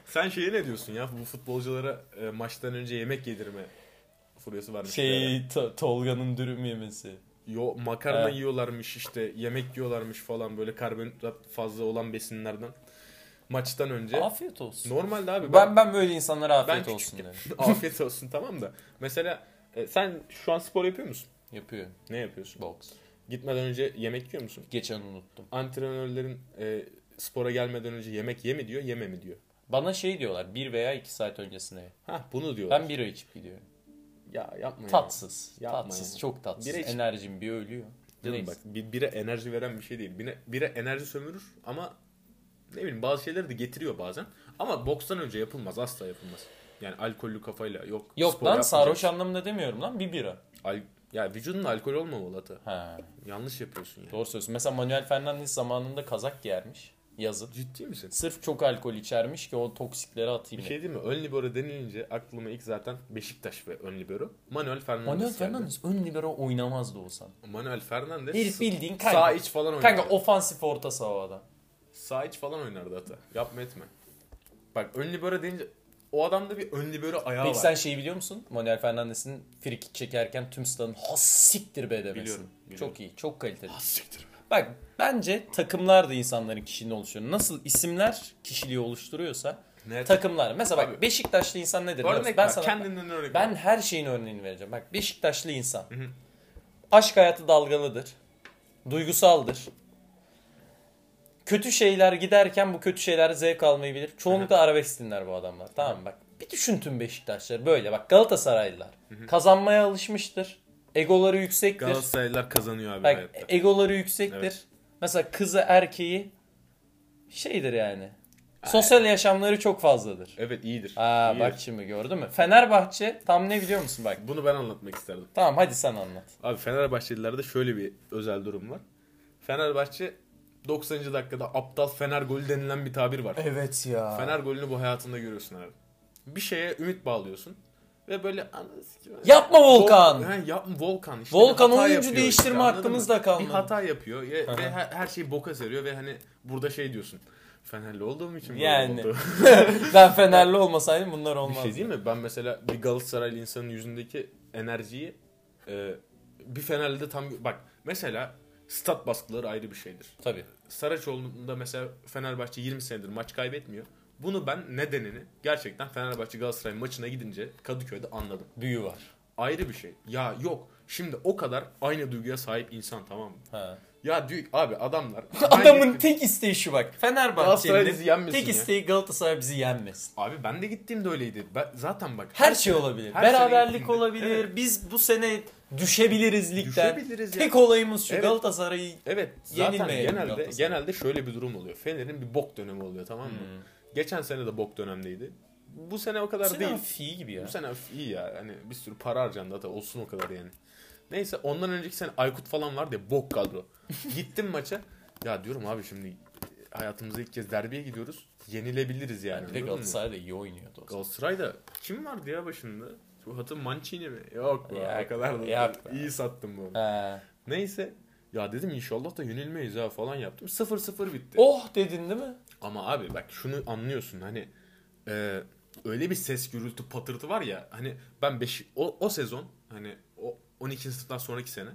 Speaker 2: Sen şeye ne diyorsun ya? Bu futbolculara e, maçtan önce yemek yedirme furyası varmış.
Speaker 1: Şey To- Tolga'nın dürüm yemesi.
Speaker 2: Yo, makarna
Speaker 1: He.
Speaker 2: yiyorlarmış işte yemek yiyorlarmış falan böyle karbonhidrat fazla olan besinlerden. Maçtan önce.
Speaker 1: Afiyet olsun.
Speaker 2: Normalde abi
Speaker 1: Ben ben böyle insanlara afiyet
Speaker 2: Ben
Speaker 1: olsun derim.
Speaker 2: *laughs* afiyet olsun tamam da. Mesela e, sen şu an spor yapıyor musun?
Speaker 1: Yapıyorum.
Speaker 2: Ne yapıyorsun?
Speaker 1: Box.
Speaker 2: Gitmeden önce yemek yiyor musun?
Speaker 1: Geçen unuttum.
Speaker 2: Antrenörlerin e, spora gelmeden önce yemek ye mi diyor, yeme mi diyor.
Speaker 1: Bana şey diyorlar 1 veya 2 saat öncesine. ye.
Speaker 2: Ha bunu diyorlar.
Speaker 1: Ben bira içip gidiyorum.
Speaker 2: Ya yapma
Speaker 1: Hmm.
Speaker 2: ya.
Speaker 1: Tatsız.
Speaker 2: Yapma
Speaker 1: tatsız.
Speaker 2: ya.
Speaker 1: Çok tatsız.
Speaker 2: Bira iç-
Speaker 1: Enerjim bir ölüyor.
Speaker 2: Canım
Speaker 1: Neyse.
Speaker 2: bak bir, bire enerji veren bir şey değil. Bire, bire enerji sömürür ama ne bileyim bazı şeyleri de getiriyor bazen. Ama bokstan önce yapılmaz asla yapılmaz. Yani alkollü kafayla yok.
Speaker 1: Yok
Speaker 2: spor
Speaker 1: lan
Speaker 2: yapmayacak.
Speaker 1: sarhoş anlamında demiyorum lan bir bira.
Speaker 2: Al- ya vücudun alkol olmamalı hata.
Speaker 1: Ha,
Speaker 2: Yanlış yapıyorsun yani.
Speaker 1: doğru söylüyorsun. Mesela Manuel Fernandes zamanında kazak giyermiş. Yazın.
Speaker 2: Ciddi misin?
Speaker 1: Sırf çok alkol içermiş ki o toksikleri atayım.
Speaker 2: Bir
Speaker 1: diye.
Speaker 2: şey değil mi? Ön libero denilince aklıma ilk zaten Beşiktaş ve ön libero. Manuel Fernandes.
Speaker 1: Manuel
Speaker 2: geldi.
Speaker 1: Fernandes ön libero oynamazdı olsan.
Speaker 2: Manuel Fernandes.
Speaker 1: Herif bildiğin kanka.
Speaker 2: Sağ iç falan oynardı.
Speaker 1: Kanka ofansif orta saha o adam.
Speaker 2: Sağ iç falan oynardı hata. Yapma etme. Bak ön libero deyince o adamda bir ön libero ayağı
Speaker 1: Peki
Speaker 2: var.
Speaker 1: sen şeyi biliyor musun? Manuel Fernandes'in free kick çekerken tüm stadın ha siktir be demesi.
Speaker 2: Biliyorum, biliyorum.
Speaker 1: Çok iyi, çok kaliteli.
Speaker 2: Ah, siktir be.
Speaker 1: Bak bence takımlar da insanların kişiliğini oluşturuyor. Nasıl isimler kişiliği oluşturuyorsa
Speaker 2: Nerede?
Speaker 1: takımlar. Mesela bak
Speaker 2: Abi.
Speaker 1: Beşiktaşlı insan nedir? biliyor musun?
Speaker 2: Örnek
Speaker 1: ben
Speaker 2: ver.
Speaker 1: sana
Speaker 2: Kendinden örnek
Speaker 1: ben
Speaker 2: ver.
Speaker 1: her şeyin örneğini vereceğim. Bak Beşiktaşlı insan. Aşk hayatı dalgalıdır. Duygusaldır. Kötü şeyler giderken bu kötü şeyler zevk almayı bilir. Çoğunlukla arabesk dinler bu adamlar. Tamam mı? bak. Bir düşün tüm Beşiktaşları böyle. Bak Galatasaraylılar. Kazanmaya alışmıştır. Egoları yüksektir.
Speaker 2: Galatasaraylılar kazanıyor abi
Speaker 1: Bak,
Speaker 2: hayatta.
Speaker 1: egoları yüksektir.
Speaker 2: Evet.
Speaker 1: Mesela kızı erkeği şeydir yani. Sosyal yaşamları çok fazladır.
Speaker 2: Evet iyidir.
Speaker 1: Aa
Speaker 2: İyidir.
Speaker 1: bak şimdi gördün mü? Fenerbahçe tam ne biliyor musun bak?
Speaker 2: Bunu ben anlatmak isterdim.
Speaker 1: Tamam hadi sen anlat.
Speaker 2: Abi Fenerbahçelilerde şöyle bir özel durum var. Fenerbahçe 90. dakikada aptal Fener golü denilen bir tabir var.
Speaker 1: Evet ya.
Speaker 2: Fener golünü bu hayatında görüyorsun abi. Bir şeye ümit bağlıyorsun ve böyle anasını sikeyim.
Speaker 1: Yapma Volkan!
Speaker 2: Vol- Ha, yapma Volkan işte.
Speaker 1: Volkan
Speaker 2: Hata
Speaker 1: oyuncu
Speaker 2: yapıyor
Speaker 1: değiştirme
Speaker 2: anladın
Speaker 1: hakkımız
Speaker 2: mı?
Speaker 1: da kalmadı.
Speaker 2: Bir hata yapıyor ya- ve her, her şeyi boka seriyor ve hani burada şey diyorsun. Fenerli olduğum için böyle
Speaker 1: Yani. *laughs*
Speaker 2: oldu.
Speaker 1: ben Fenerli olmasaydım bunlar
Speaker 2: Bir
Speaker 1: olmazdı.
Speaker 2: şey değil mi? Ben mesela bir Galatasaraylı insanın yüzündeki enerjiyi e, bir Fenerli'de tam... Bak mesela stat baskıları ayrı bir şeydir.
Speaker 1: Tabii.
Speaker 2: Saraçoğlu'nda mesela Fenerbahçe 20 senedir maç kaybetmiyor. Bunu ben nedenini gerçekten Fenerbahçe Galatasaray maçına gidince Kadıköy'de anladım.
Speaker 1: Büyü var.
Speaker 2: Ayrı bir şey. Ya yok şimdi o kadar aynı duyguya sahip insan tamam mı?
Speaker 1: Ha.
Speaker 2: Ya diyor
Speaker 1: *laughs*
Speaker 2: abi adamlar...
Speaker 1: Adamın tek isteği şu bak.
Speaker 2: Galatasaray bizi
Speaker 1: Fenerbahçe'nin
Speaker 2: yenmesin
Speaker 1: tek
Speaker 2: ya.
Speaker 1: isteği Galatasaray bizi yenmesin.
Speaker 2: Abi ben de gittiğimde öyleydi. Ben, zaten bak
Speaker 1: Her şey olabilir.
Speaker 2: her sene
Speaker 1: Beraberlik
Speaker 2: gittiğimde-
Speaker 1: olabilir. Biz bu sene düşebiliriz ligden.
Speaker 2: Düşebiliriz ya.
Speaker 1: tek olayımız şu
Speaker 2: Evet.
Speaker 1: Galatasaray'ı
Speaker 2: Evet zaten
Speaker 1: Yenilmeyelim
Speaker 2: genelde
Speaker 1: Galatasaray.
Speaker 2: genelde şöyle bir durum oluyor. Fener'in bir bok dönemi oluyor tamam mı?
Speaker 1: Hmm.
Speaker 2: Geçen sene de bok dönemdeydi. Bu sene o kadar
Speaker 1: Bu sene
Speaker 2: değil.
Speaker 1: hafif iyi gibi ya.
Speaker 2: Bu sene hafif iyi ya. Hani bir sürü para harcandı hatta olsun o kadar yani. Neyse ondan önceki sene Aykut falan vardı ya
Speaker 1: *laughs*
Speaker 2: bok kadro. Gittim maça. Ya diyorum abi şimdi hayatımızda ilk kez derbiye gidiyoruz. Yenilebiliriz yani.
Speaker 1: Bir de
Speaker 2: anladın mı?
Speaker 1: Galatasaray da iyi oynuyordu. o zaman.
Speaker 2: Galatasaray'da kim vardı ya başında? Bu hatun Mancini mi? Yok be.
Speaker 1: Yok,
Speaker 2: O kadar da
Speaker 1: yok be.
Speaker 2: iyi sattım bunu.
Speaker 1: He.
Speaker 2: Neyse ya dedim inşallah da yenilmeyiz ha falan yaptım. 0-0 bitti.
Speaker 1: Oh dedin değil mi?
Speaker 2: Ama abi bak şunu anlıyorsun hani e, öyle bir ses gürültü patırtı var ya hani ben beş, o, o sezon hani o 12. sınıftan sonraki sene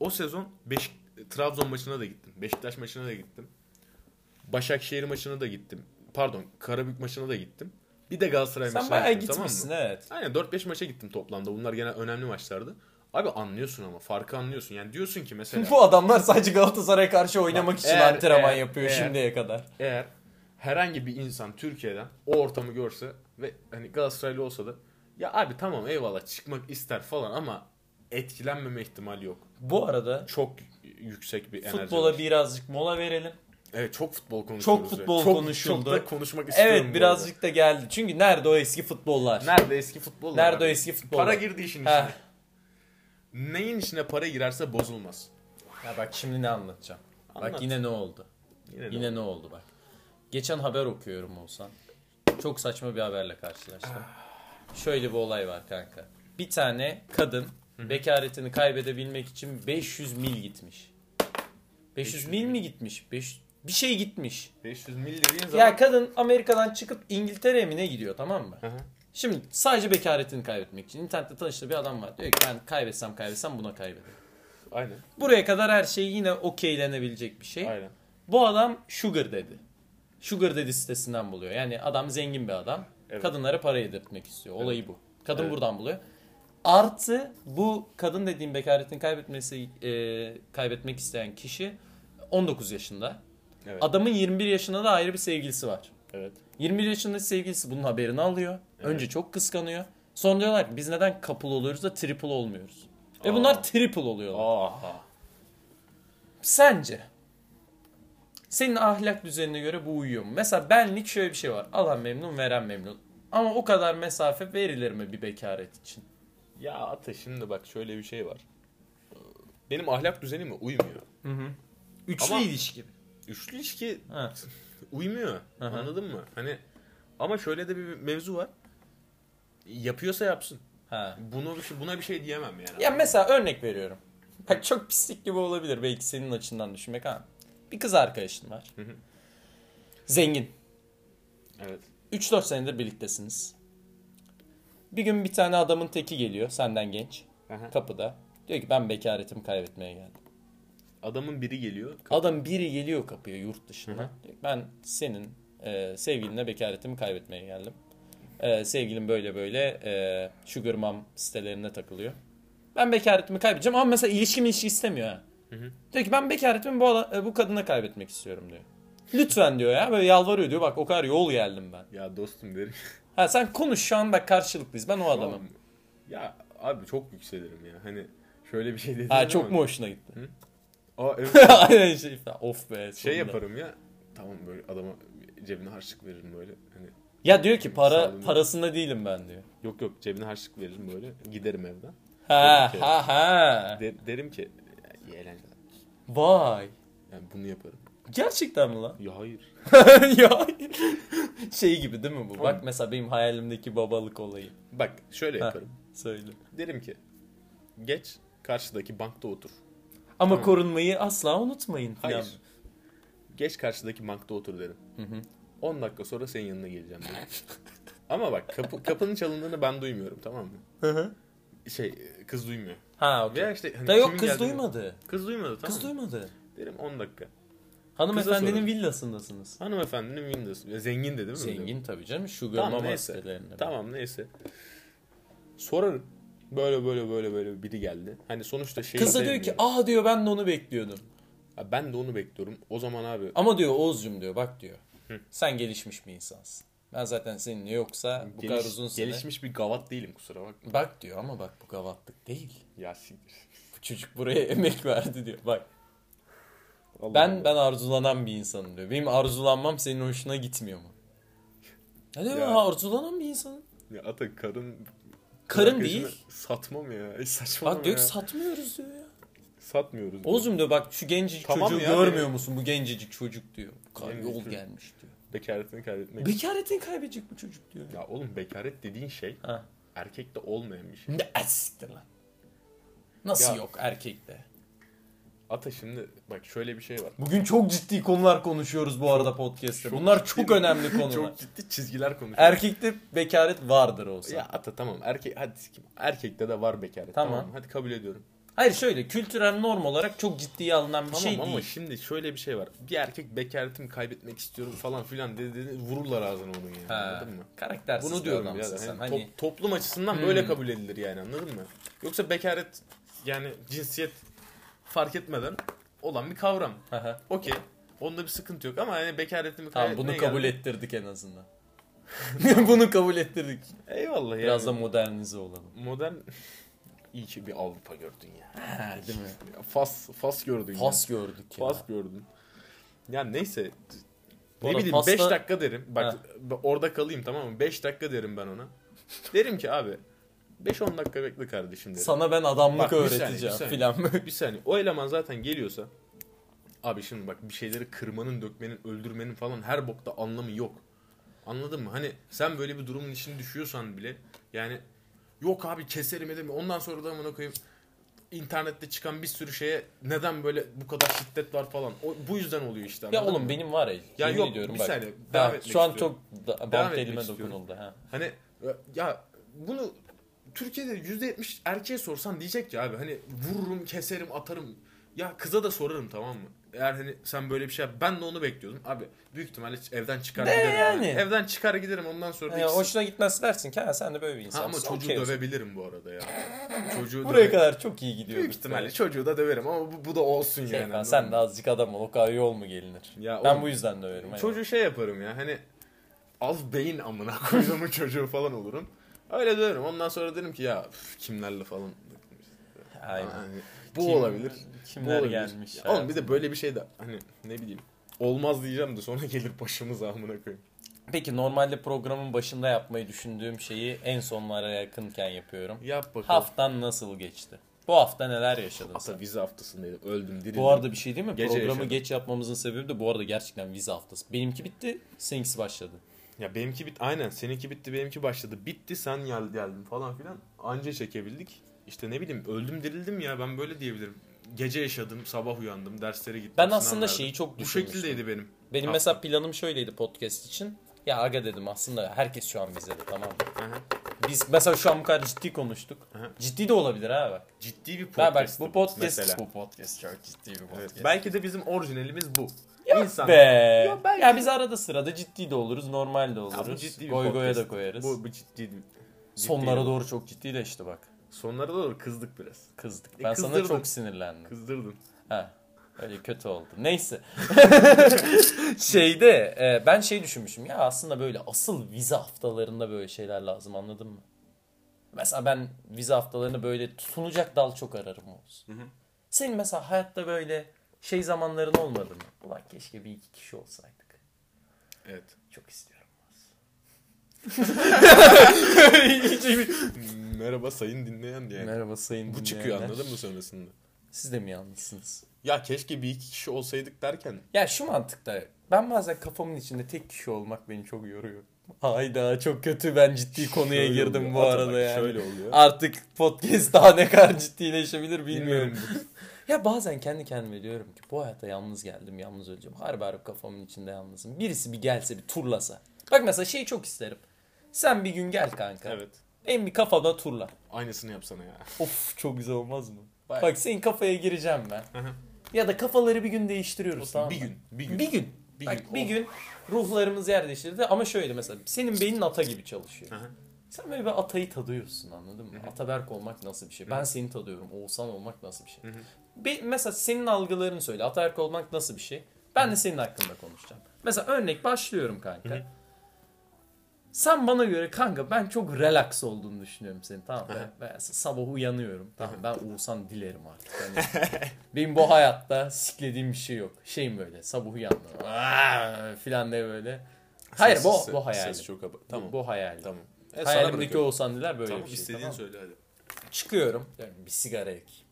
Speaker 2: o sezon Beşik, Trabzon maçına da gittim. Beşiktaş maçına da gittim. Başakşehir maçına da gittim. Pardon Karabük maçına da gittim. Bir de Galatasaray
Speaker 1: Sen
Speaker 2: maçına
Speaker 1: bayağı
Speaker 2: gittim
Speaker 1: gitmişsin
Speaker 2: tamam mı?
Speaker 1: evet.
Speaker 2: Aynen 4-5 maça gittim toplamda. Bunlar gene önemli maçlardı. Abi anlıyorsun ama farkı anlıyorsun. Yani diyorsun ki mesela
Speaker 1: Bu adamlar sadece Galatasaray'a karşı oynamak için
Speaker 2: eğer-
Speaker 1: antrenman
Speaker 2: eğer-
Speaker 1: yapıyor
Speaker 2: eğer-
Speaker 1: şimdiye kadar.
Speaker 2: eğer herhangi bir insan Türkiye'den o ortamı görse ve hani Galatasaraylı olsa da ya abi tamam eyvallah çıkmak ister falan ama etkilenmeme ihtimali yok.
Speaker 1: Bu arada
Speaker 2: Çok yüksek bir enerji. var.
Speaker 1: futbola birazcık mola verelim.
Speaker 2: Evet çok futbol konuşuyoruz.
Speaker 1: Çok futbol
Speaker 2: çok,
Speaker 1: konuşuldu.
Speaker 2: Çok da konuşmak istiyorum. bu
Speaker 1: evet birazcık da geldi. Çünkü nerede o eski futbollar?
Speaker 2: arada. Nerede eski futbol?
Speaker 1: Nerede o eski futbollar?
Speaker 2: Para girdi işin içine.
Speaker 1: Heh.
Speaker 2: Neyin içine para girerse bozulmaz.
Speaker 1: Ya bak şimdi ne anlatacağım. Bak
Speaker 2: Anlat.
Speaker 1: yine ne oldu?
Speaker 2: Yine, de
Speaker 1: Yine ne oldu bak. Geçen haber okuyorum olsan. Çok saçma bir haberle karşılaştım. *sighs* Şöyle bir olay var kanka. Bir tane kadın bekaretini kaybedebilmek için 500 mil gitmiş. 500 mil mi gitmiş? 5 bir şey gitmiş.
Speaker 2: 500 mil dediğin zaman
Speaker 1: Ya kadın Amerika'dan çıkıp İngiltere'ye mi ne gidiyor tamam mı?
Speaker 2: Hı hı.
Speaker 1: Şimdi sadece bekaretini kaybetmek için internette tanıştığı bir adam var. Diyor ki ben kaybetsem kaybetsem buna kaybederim.
Speaker 2: aynen
Speaker 1: Buraya kadar her şey yine okeylenebilecek bir şey.
Speaker 2: aynen.
Speaker 1: Bu adam Sugar dedi. Sugar dedi sitesinden buluyor. Yani adam zengin bir adam.
Speaker 2: Evet.
Speaker 1: Kadınlara para yedirtmek istiyor. Olayı bu. Kadın
Speaker 2: Evet.
Speaker 1: buradan buluyor. Artı bu kadın dediğim bekaretini kaybetmesi e, kaybetmek isteyen kişi 19 yaşında.
Speaker 2: Evet.
Speaker 1: Adamın 21 yaşında da ayrı bir sevgilisi var.
Speaker 2: evet.
Speaker 1: 21 yaşındaki sevgilisi bunun haberini alıyor. Önce çok kıskanıyor. Sonra diyorlar ki biz neden couple oluyoruz da triple olmuyoruz. Ve
Speaker 2: Aa.
Speaker 1: bunlar triple oluyorlar.
Speaker 2: Aha.
Speaker 1: Sence senin ahlak düzenine göre bu uyuyor mu? Mesela benlik şöyle bir şey var. Alan memnun, veren memnun. Ama o kadar mesafe verilir mi bir bekaret için?
Speaker 2: Ya ata şimdi bak şöyle bir şey var. Benim ahlak düzenime uymuyor.
Speaker 1: Üçlü
Speaker 2: Ama-
Speaker 1: ilişki.
Speaker 2: Üçlü ilişki
Speaker 1: Ha.
Speaker 2: uymuyor.
Speaker 1: Hı hı.
Speaker 2: Anladın mı? Hani ama şöyle de bir mevzu var. Yapıyorsa yapsın.
Speaker 1: ha.
Speaker 2: Bunu buna bir şey diyemem yani.
Speaker 1: Ya mesela örnek veriyorum. Bak çok pislik gibi olabilir belki senin açından düşünmek ha. Bir kız arkadaşın var.
Speaker 2: hı.
Speaker 1: Zengin.
Speaker 2: Evet.
Speaker 1: 3-4 senedir birliktesiniz. Bir gün bir tane adamın teki geliyor senden genç.
Speaker 2: Aha.
Speaker 1: Kapıda. Diyor ki ben bekaretimi kaybetmeye geldim.
Speaker 2: Adamın biri geliyor.
Speaker 1: Adam biri geliyor kapıya yurt
Speaker 2: Hı hı.
Speaker 1: dışına. Diyor ki, Ben senin e, sevgilinle bekaretimi kaybetmeye geldim. E, sevgilim böyle böyle e, sugar mom sitelerine takılıyor. Ben bekaretimi kaybedeceğim ama mesela ilişkim ilişki istemiyor ha.
Speaker 2: Hı hı.
Speaker 1: Diyor ki ben bekaretimi bu, ala- e, bu kadına kaybetmek istiyorum diyor. Lütfen diyor ya böyle yalvarıyor diyor bak o kadar yol geldim ben.
Speaker 2: Ya dostum
Speaker 1: *laughs*
Speaker 2: derim.
Speaker 1: Ha sen konuş şu an bak karşılıklıyız ben o adamım.
Speaker 2: Ya abi çok yükselirim ya. Hani şöyle bir şey dedim.
Speaker 1: Ha çok mu hoşuna gitti? *laughs*
Speaker 2: Aa, evet.
Speaker 1: Aynen şey falan. Of be.
Speaker 2: şey
Speaker 1: sonunda.
Speaker 2: yaparım ya. Tamam böyle adama cebine harçlık veririm böyle. Hani
Speaker 1: Ya diyor ki para
Speaker 2: Sağlığını-
Speaker 1: parasında değilim ben diyor.
Speaker 2: yok yok cebine harçlık veririm böyle. Giderim evden.
Speaker 1: Ha
Speaker 2: Dedim ki-
Speaker 1: ha ha.
Speaker 2: De- derim ki "Ya, iyi eğlenceler.
Speaker 1: Vay.
Speaker 2: Yani bunu yaparım.
Speaker 1: Gerçekten mi lan? *laughs*
Speaker 2: Ya hayır.
Speaker 1: ya şey gibi değil mi bu? Bak mesela benim hayalimdeki babalık olayı.
Speaker 2: Bak
Speaker 1: Ha.
Speaker 2: şöyle Şey yaparım.
Speaker 1: Söyle.
Speaker 2: Derim ki geç karşıdaki bankta otur.
Speaker 1: Ama korunmayı asla unutmayın.
Speaker 2: Hayır.
Speaker 1: falan.
Speaker 2: Geç karşıdaki bankta otur derim. 10 dakika sonra senin yanına geleceğim derim. *laughs* Ama bak kapı, kapının çalındığını ben duymuyorum tamam mı? Şey kız duymuyor.
Speaker 1: Ha okey.
Speaker 2: Veya işte hani
Speaker 1: Da yok
Speaker 2: kimin
Speaker 1: kız
Speaker 2: geldiğini-
Speaker 1: duymadı.
Speaker 2: Kız duymadı
Speaker 1: Kız
Speaker 2: tamam mı?
Speaker 1: duymadı.
Speaker 2: Derim 10 dakika.
Speaker 1: Hanımefendinin
Speaker 2: sorarım.
Speaker 1: villasındasınız.
Speaker 2: Hanımefendinin Windows. Ya Zengin de değil mi?
Speaker 1: Zengin tabii canım. Sugar
Speaker 2: Tamam
Speaker 1: mama
Speaker 2: neyse.
Speaker 1: sitelerinde.
Speaker 2: Tamam neyse. Sorarım. Böyle böyle böyle böyle biri geldi. Hani sonuçta şey
Speaker 1: Kız da diyor ki aa diyor ben de onu bekliyordum.
Speaker 2: ben de onu bekliyorum. O zaman abi
Speaker 1: Ama diyor Oğuz'cum diyor bak diyor. Sen gelişmiş bir insansın. Ben zaten seninle yoksa bu kadar
Speaker 2: geliş-
Speaker 1: uzun sene.
Speaker 2: gelişmiş bir gavat değilim kusura bakma.
Speaker 1: Bak diyor ama bak bu gavatlık değil.
Speaker 2: Ya siktir.
Speaker 1: Bu çocuk buraya *laughs* emek verdi diyor. Bak
Speaker 2: Allah
Speaker 1: ben
Speaker 2: Allah.
Speaker 1: ben arzulanan bir insanım diyor. Benim arzulanmam senin hoşuna gitmiyor mu? Ne diyor
Speaker 2: Ya.
Speaker 1: ben arzulanan bir insanım.
Speaker 2: Ya ata karın
Speaker 1: Karın
Speaker 2: arkadaşını
Speaker 1: değil.
Speaker 2: Satmam ya. E, saçmalama
Speaker 1: Bak diyor ki
Speaker 2: ya.
Speaker 1: satmıyoruz diyor ya.
Speaker 2: Satmıyoruz. diyor.
Speaker 1: Oğuz'um diyor bak şu gencecik
Speaker 2: Tamam
Speaker 1: çocuğu
Speaker 2: ya,
Speaker 1: görmüyor
Speaker 2: benim-
Speaker 1: musun? Bu gencecik çocuk diyor. Bu kadar
Speaker 2: Gencecik
Speaker 1: yol
Speaker 2: çocuk.
Speaker 1: gelmiş diyor.
Speaker 2: Bekaretini kaybetmek.
Speaker 1: Bekaretini kaybedecek bu çocuk diyor.
Speaker 2: ya oğlum bekaret dediğin şey
Speaker 1: Ha.
Speaker 2: erkekte olmayan bir şey.
Speaker 1: Ne az siktir lan. Nasıl
Speaker 2: Ya.
Speaker 1: yok erkekte?
Speaker 2: Ata şimdi bak şöyle bir şey var.
Speaker 1: Bugün çok ciddi konular konuşuyoruz bu arada podcast'te. Bunlar çok önemli konular.
Speaker 2: *laughs* Çok ciddi çizgiler konuşuyoruz.
Speaker 1: Erkekte bekaret vardır olsa.
Speaker 2: Ya ata tamam erkek hadi sikim. Erkekte de var bekaret.
Speaker 1: Tamam.
Speaker 2: Hadi kabul ediyorum.
Speaker 1: Hayır şöyle kültürel norm olarak çok ciddiye alınan bir
Speaker 2: Tamam
Speaker 1: şey
Speaker 2: ama
Speaker 1: değil.
Speaker 2: şimdi şöyle bir şey var. Bir erkek bekaretimi kaybetmek istiyorum falan filan dedi, dedi vururlar ağzına onun yani.
Speaker 1: Ha,
Speaker 2: Anladın mı?
Speaker 1: Karaktersiz
Speaker 2: Bunu
Speaker 1: bir
Speaker 2: diyorum
Speaker 1: adamsın
Speaker 2: ya.
Speaker 1: sen.
Speaker 2: Hani,
Speaker 1: Hani, Hmm.
Speaker 2: top- toplum açısından böyle kabul edilir yani anladın mı? Yoksa bekaret yani cinsiyet fark etmeden olan bir kavram. *laughs*
Speaker 1: Aha.
Speaker 2: Okey. Onda bir sıkıntı yok ama hani bekaretimi
Speaker 1: Tamam
Speaker 2: kaybetmeye
Speaker 1: bunu kabul
Speaker 2: geldim.
Speaker 1: ettirdik en
Speaker 2: *laughs*
Speaker 1: azından. *laughs* bunu kabul ettirdik.
Speaker 2: Eyvallah yani.
Speaker 1: Biraz da modernize olalım.
Speaker 2: modern iyi ki bir Avrupa gördün ya.
Speaker 1: Değil mi?
Speaker 2: Ya Fas Fas gördün
Speaker 1: Pas gördük
Speaker 2: ya.
Speaker 1: ya.
Speaker 2: Fas gördün. Ya neyse
Speaker 1: Bu
Speaker 2: ne
Speaker 1: arada
Speaker 2: bileyim
Speaker 1: pasta-
Speaker 2: 5 dakika derim. Bak
Speaker 1: Ha.
Speaker 2: ben orada kalayım tamam mı? 5 dakika derim ben ona. derim ki abi 5-10 dakika bekle kardeşim derim.
Speaker 1: Sana ben adamlık
Speaker 2: Bak, bir saniye,
Speaker 1: öğreteceğim
Speaker 2: bir saniye.
Speaker 1: filan böyle.
Speaker 2: bir saniye. O eleman zaten geliyorsa abi şimdi bak bir şeyleri kırmanın, dökmenin, öldürmenin falan her bokta anlamı yok. Anladın mı? Hani sen böyle bir durumun içine düşüyorsan bile yani yok abi keserim ederim. Ondan sonra da amına koyayım internette çıkan bir sürü şeye neden böyle bu kadar şiddet var falan. O, bu yüzden oluyor işte.
Speaker 1: Ya
Speaker 2: anladın
Speaker 1: oğlum
Speaker 2: mı?
Speaker 1: benim var ya.
Speaker 2: Ya
Speaker 1: yemin
Speaker 2: yok,
Speaker 1: ediyorum
Speaker 2: bir
Speaker 1: bak.
Speaker 2: saniye,
Speaker 1: Ha,
Speaker 2: devam etmek
Speaker 1: Şu an
Speaker 2: istiyorum.
Speaker 1: çok da,
Speaker 2: Devam
Speaker 1: bant
Speaker 2: etmek
Speaker 1: elime
Speaker 2: istiyorum.
Speaker 1: dokunuldu. Ha.
Speaker 2: Hani ya bunu Türkiye'de %70 erkeğe sorsan diyecek ki abi hani vururum, keserim, atarım. Ya kıza da sorarım tamam mı? Eğer hani sen böyle bir şey yap- ben de onu bekliyordum. Abi büyük ihtimalle evden çıkar
Speaker 1: De
Speaker 2: giderim.
Speaker 1: yani. E,
Speaker 2: Evden çıkar giderim ondan sonra da
Speaker 1: Ya,
Speaker 2: ikisi-
Speaker 1: hoşuna gitmez dersin ki ha, sen de böyle bir
Speaker 2: Ha,
Speaker 1: insansın.
Speaker 2: ama çocuğu
Speaker 1: Okey.
Speaker 2: dövebilirim bu arada ya. çocuğu
Speaker 1: Buraya
Speaker 2: döve-
Speaker 1: kadar çok iyi gidiyor.
Speaker 2: Büyük ihtimalle çocuğu da döverim ama bu, bu da olsun
Speaker 1: Şey,
Speaker 2: yani.
Speaker 1: falan,
Speaker 2: anladın mı?
Speaker 1: sen de azıcık adam ol. O kadar yol mu gelinir?
Speaker 2: Ya
Speaker 1: ben
Speaker 2: oğlum,
Speaker 1: bu yüzden döverim. aynen.
Speaker 2: Çocuğu şey yaparım ya hani az beyin amına *laughs* koyduğumun çocuğu falan olurum. Öyle dönerim. Ondan sonra derim ki ya üf, kimlerle falan.
Speaker 1: Aynen.
Speaker 2: Hani bu
Speaker 1: Kim-
Speaker 2: olabilir. Bu
Speaker 1: Kimler
Speaker 2: olabilir.
Speaker 1: gelmiş?
Speaker 2: Ya Oğlum bir de böyle bir şey de hani ne bileyim olmaz diyeceğim de sonra *laughs* gelir başımıza amına koyayım.
Speaker 1: Peki normalde programın başında yapmayı düşündüğüm şeyi en sonlara yakınken yapıyorum.
Speaker 2: Yap bakalım.
Speaker 1: Haftan nasıl geçti? Bu hafta neler yaşadın sen?
Speaker 2: Ata vize haftasındaydım. Öldüm dirildim.
Speaker 1: Bu arada bir şey değil mi?
Speaker 2: Ee, Gece
Speaker 1: Programı
Speaker 2: yaşadım.
Speaker 1: geç yapmamızın sebebi de bu arada gerçekten vize haftası. Benimki bitti, seninkisi başladı.
Speaker 2: Ya benimki bit aynen seninki bitti benimki başladı. Bitti sen gel geldin falan filan. Anca çekebildik. İşte ne bileyim öldüm dirildim ya ben böyle diyebilirim. Gece yaşadım, sabah uyandım, derslere gittim.
Speaker 1: Ben
Speaker 2: sınav
Speaker 1: aslında
Speaker 2: verdim.
Speaker 1: şeyi çok
Speaker 2: Bu
Speaker 1: düşünmüştüm.
Speaker 2: şekildeydi benim.
Speaker 1: Benim
Speaker 2: Hafta.
Speaker 1: mesela planım şöyleydi podcast için. Ya aga dedim aslında herkes şu an vizede tamam mı?
Speaker 2: Aha.
Speaker 1: Biz mesela şu an bu kadar ciddi konuştuk.
Speaker 2: Aha.
Speaker 1: Ciddi de olabilir ha bak.
Speaker 2: Ciddi bir
Speaker 1: Ha
Speaker 2: podcast.
Speaker 1: bak bu podcast
Speaker 2: mesela.
Speaker 1: bu podcast çok ciddi bir podcast.
Speaker 2: Evet. Belki de bizim orijinalimiz bu. İnsan.
Speaker 1: Be. Ya,
Speaker 2: Ya belki-
Speaker 1: biz arada sırada ciddi de oluruz, normal de
Speaker 2: Ya
Speaker 1: oluruz.
Speaker 2: bu ciddi bir
Speaker 1: Goy goya
Speaker 2: podcast.
Speaker 1: da koyarız.
Speaker 2: Bu, bu ciddi. ciddi
Speaker 1: Sonlara
Speaker 2: bir-
Speaker 1: doğru çok ciddileşti bak.
Speaker 2: Sonlara doğru kızdık biraz.
Speaker 1: Kızdık.
Speaker 2: E,
Speaker 1: Ben sana
Speaker 2: kızdırdın.
Speaker 1: çok sinirlendim.
Speaker 2: Kızdırdın.
Speaker 1: Ha. Öyle kötü oldu. Neyse. *laughs* Şeyde e, ben şey düşünmüşüm ya aslında böyle asıl vize haftalarında böyle şeyler lazım anladın mı? Mesela ben vize haftalarını böyle sunacak dal çok ararım olsun. Senin mesela hayatta böyle şey zamanların olmadı mı? Ulan keşke bir iki kişi olsaydık.
Speaker 2: Evet.
Speaker 1: Çok istiyorum.
Speaker 2: Merhaba sayın dinleyen diye.
Speaker 1: Merhaba sayın
Speaker 2: Bu çıkıyor anladın mı sonrasında?
Speaker 1: Siz de mi yalnızsınız?
Speaker 2: Ya keşke bir iki kişi olsaydık derken
Speaker 1: Ya şu mantıkta ben bazen kafamın içinde tek kişi olmak beni çok yoruyor. Hayda çok kötü ben ciddi konuya
Speaker 2: Şöyle
Speaker 1: girdim
Speaker 2: oluyor.
Speaker 1: bu
Speaker 2: Ata
Speaker 1: arada
Speaker 2: bak,
Speaker 1: yani.
Speaker 2: Şöyle oluyor.
Speaker 1: Artık podcast daha ne kadar ciddileşebilir bilmiyorum.
Speaker 2: Bilmiyorum.
Speaker 1: ya bazen kendi kendime diyorum ki bu hayata yalnız geldim yalnız öleceğim. Harbi harbi kafamın içinde yalnızım. Birisi bir gelse bir turlasa. Bak mesela şeyi çok isterim. Sen bir gün gel kanka.
Speaker 2: evet.
Speaker 1: En bir kafada turla.
Speaker 2: Aynısını yapsana ya.
Speaker 1: Of çok güzel olmaz mı?
Speaker 2: Bak.
Speaker 1: Bak senin kafaya gireceğim ben.
Speaker 2: hı.
Speaker 1: ya da kafaları bir gün değiştiriyoruz tamam mı?
Speaker 2: bir gün. Bir gün.
Speaker 1: Bir gün.
Speaker 2: Bir
Speaker 1: Bak,
Speaker 2: gün. oh.
Speaker 1: bir
Speaker 2: Of.
Speaker 1: gün ruhlarımız yer değiştirdi ama şöyle mesela senin beynin ata gibi çalışıyor.
Speaker 2: Aha.
Speaker 1: Sen böyle bir atayı tadıyorsun anladın mı? Ataberk olmak nasıl bir şey? Ben seni tadıyorum. Oğuzhan olmak nasıl bir şey? Bir, mesela senin algılarını söyle. Ataberk olmak nasıl bir şey? Ben de senin hakkında konuşacağım. Mesela örnek başlıyorum kanka. Sen bana göre kanka ben çok relax olduğunu düşünüyorum senin tamam mı? Ben, ben sabah uyanıyorum tamam ben Oğuzhan dilerim artık. Hani *laughs* benim bu hayatta siklediğim bir şey yok. Şeyim böyle sabah uyandım "Aa!" filan diye böyle. Hayır bu,
Speaker 2: Sessiz-
Speaker 1: bu hayal.
Speaker 2: Ses çok aba-
Speaker 1: Tamam.
Speaker 2: Tamam.
Speaker 1: Bu hayal.
Speaker 2: Tamam. E, sana
Speaker 1: Hayalimdeki
Speaker 2: bırakıyorum.
Speaker 1: Oğuzhan Diler böyle
Speaker 2: Tamam
Speaker 1: bir şey.
Speaker 2: istediğini
Speaker 1: tamam mı?
Speaker 2: söyle hadi.
Speaker 1: Çıkıyorum. diyorum, bir sigara yakayım.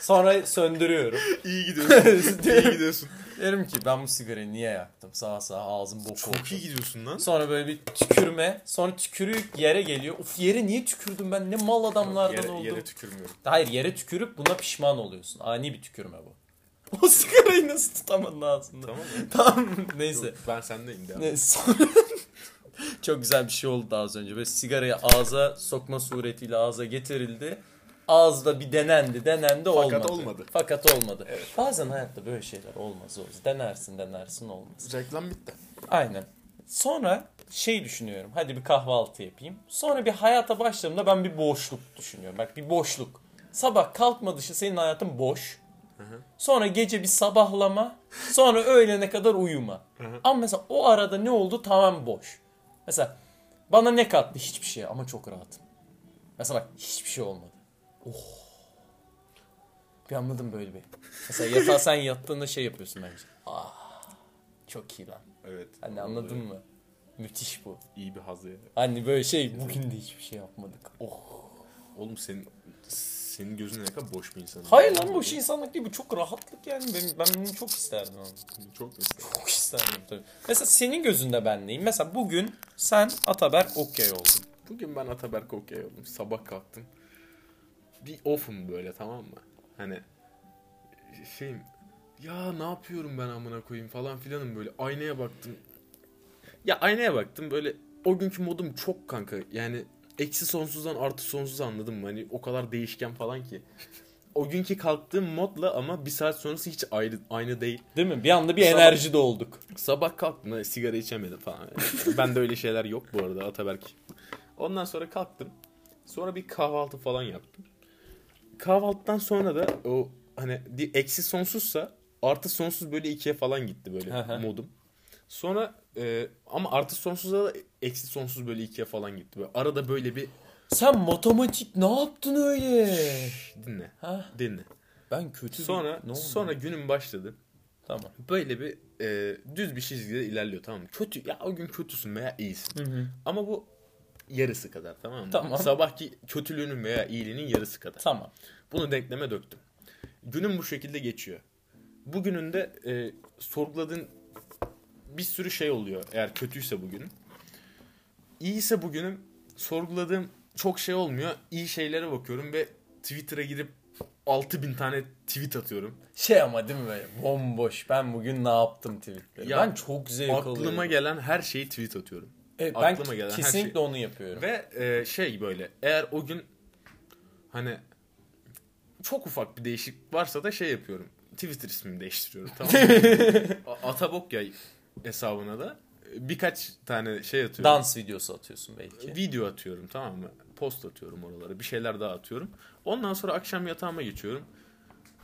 Speaker 1: Sonra
Speaker 2: *laughs*
Speaker 1: söndürüyorum.
Speaker 2: *laughs* İyi *laughs* gidiyorsun. iyi gidiyorsun.
Speaker 1: Derim ki ben bu sigarayı niye yaktım? Sağa sağa ağzım bok oldu.
Speaker 2: Çok iyi gidiyorsun lan.
Speaker 1: Sonra böyle bir tükürme. Sonra tükürük yere geliyor. Uf yere niye tükürdüm ben? Ne mal adamlardan
Speaker 2: Yere,
Speaker 1: oldum. *laughs*
Speaker 2: yere tükürmüyorum.
Speaker 1: Hayır yere tükürüp buna pişman oluyorsun. Ani bir tükürme bu. *laughs* O sigarayı nasıl tutamadın ağzında?
Speaker 2: Tamam mı?
Speaker 1: Tamam neyse.
Speaker 2: Yok, ben sendeyim devam.
Speaker 1: Ne- sonra- *laughs* Çok güzel bir şey oldu daha az önce. Böyle sigarayı ağza sokma suretiyle ağza getirildi. ağızda bir denendi denendi olmadı.
Speaker 2: Fakat olmadı.
Speaker 1: Fakat olmadı. Bazen hayatta böyle şeyler olmaz Oğuz. Denersin denersin olmaz.
Speaker 2: *laughs* Reklam bitti.
Speaker 1: Aynen. Sonra şey düşünüyorum. Hadi bir kahvaltı yapayım. Sonra bir hayata başladığımda ben bir boşluk düşünüyorum. Bak bir boşluk. Sabah kalkma dışı senin hayatın boş. Sonra gece bir sabahlama. Sonra öğlene kadar uyuma. Ama mesela o arada ne oldu tamam boş. Mesela bana ne kattı hiçbir şey ama çok rahatım. Mesela bak hiçbir şey olmadı. Oh. Bir anladım böyle bir. Mesela yatağa sen yattığında şey yapıyorsun bence. Ah. Çok iyi lan.
Speaker 2: Evet.
Speaker 1: Hani anladın mı? Müthiş bu.
Speaker 2: İyi bir hazı. ya.
Speaker 1: Hani böyle şey bugün de hiçbir şey yapmadık. Oh.
Speaker 2: Oğlum senin senin gözün ne kadar boş bir insan.
Speaker 1: Hayır lan bu şey insanlık değil bu çok rahatlık yani. Ben, ben bunu çok isterdim ama.
Speaker 2: Çok mu?
Speaker 1: Çok isterdim tabii. Mesela senin gözünde ben neyim? Mesela bugün sen Ataberk Okyay oldun.
Speaker 2: Bugün ben Ataberk okey oldum. Sabah kalktım. Bir off'um böyle tamam mı? Hani şeyim ya ne yapıyorum ben amına koyayım falan filanım böyle. Aynaya baktım. Ya aynaya baktım böyle o günkü modum çok kanka. Yani eksi sonsuzdan artı sonsuz anladım mı? Hani o kadar değişken falan ki. O günkü kalktığım modla ama bir saat sonrası hiç ayrı, aynı değil.
Speaker 1: Değil mi? Bir anda bir
Speaker 2: Sabah-
Speaker 1: enerji dolduk.
Speaker 2: Sabah kalktım hani sigara içemedim falan. ben de öyle şeyler yok bu arada Ataberk. Ondan sonra kalktım. Sonra bir kahvaltı falan yaptım. Kahvaltıdan sonra da o hani di- eksi sonsuzsa artı sonsuz böyle ikiye falan gitti
Speaker 1: Hı
Speaker 2: böyle
Speaker 1: hı.
Speaker 2: modum. Sonra e, ama artı sonsuzda da eksi sonsuz böyle ikiye falan gitti. Böyle arada böyle bir
Speaker 1: Sen matematik ne yaptın öyle?
Speaker 2: dinle
Speaker 1: ha?
Speaker 2: dinle.
Speaker 1: Ben kötü bir-
Speaker 2: Sonra
Speaker 1: ne oldu?
Speaker 2: sonra günüm başladı.
Speaker 1: Tamam.
Speaker 2: Böyle bir e, düz bir çizgide ilerliyor tamam mı? Kötü ya o gün kötüsün veya iyisin. Ama bu yarısı kadar tamam mı?
Speaker 1: Tamam.
Speaker 2: Sabahki kötülüğünün veya iyiliğinin yarısı kadar.
Speaker 1: Tamam.
Speaker 2: Bunu denkleme döktüm. Günün bu şekilde geçiyor. Bugünün de e, sorguladığın bir sürü şey oluyor eğer kötüyse bugünün. İyiyse bugünüm sorguladığım çok şey olmuyor. İyi şeylere bakıyorum ve Twitter'a girip 6000 tane tweet atıyorum.
Speaker 1: Şey ama değil mi böyle bomboş. Ben bugün ne yaptım tweetleri.
Speaker 2: Ya,
Speaker 1: ben çok zevk alıyorum.
Speaker 2: Aklıma gelen her şeyi tweet atıyorum.
Speaker 1: Evet, ben
Speaker 2: aklıma gelen her
Speaker 1: kesinlikle
Speaker 2: şey.
Speaker 1: onu yapıyorum.
Speaker 2: Ve e, şey böyle eğer o gün hani çok ufak bir değişiklik varsa da şey yapıyorum. Twitter ismimi değiştiriyorum tamam mı?
Speaker 1: *laughs*
Speaker 2: A- Atabok ya hesabına da e, birkaç tane şey atıyorum.
Speaker 1: Dans videosu atıyorsun belki.
Speaker 2: Video atıyorum tamam mı? Post atıyorum oralara. Bir şeyler daha atıyorum. Ondan sonra akşam yatağıma geçiyorum.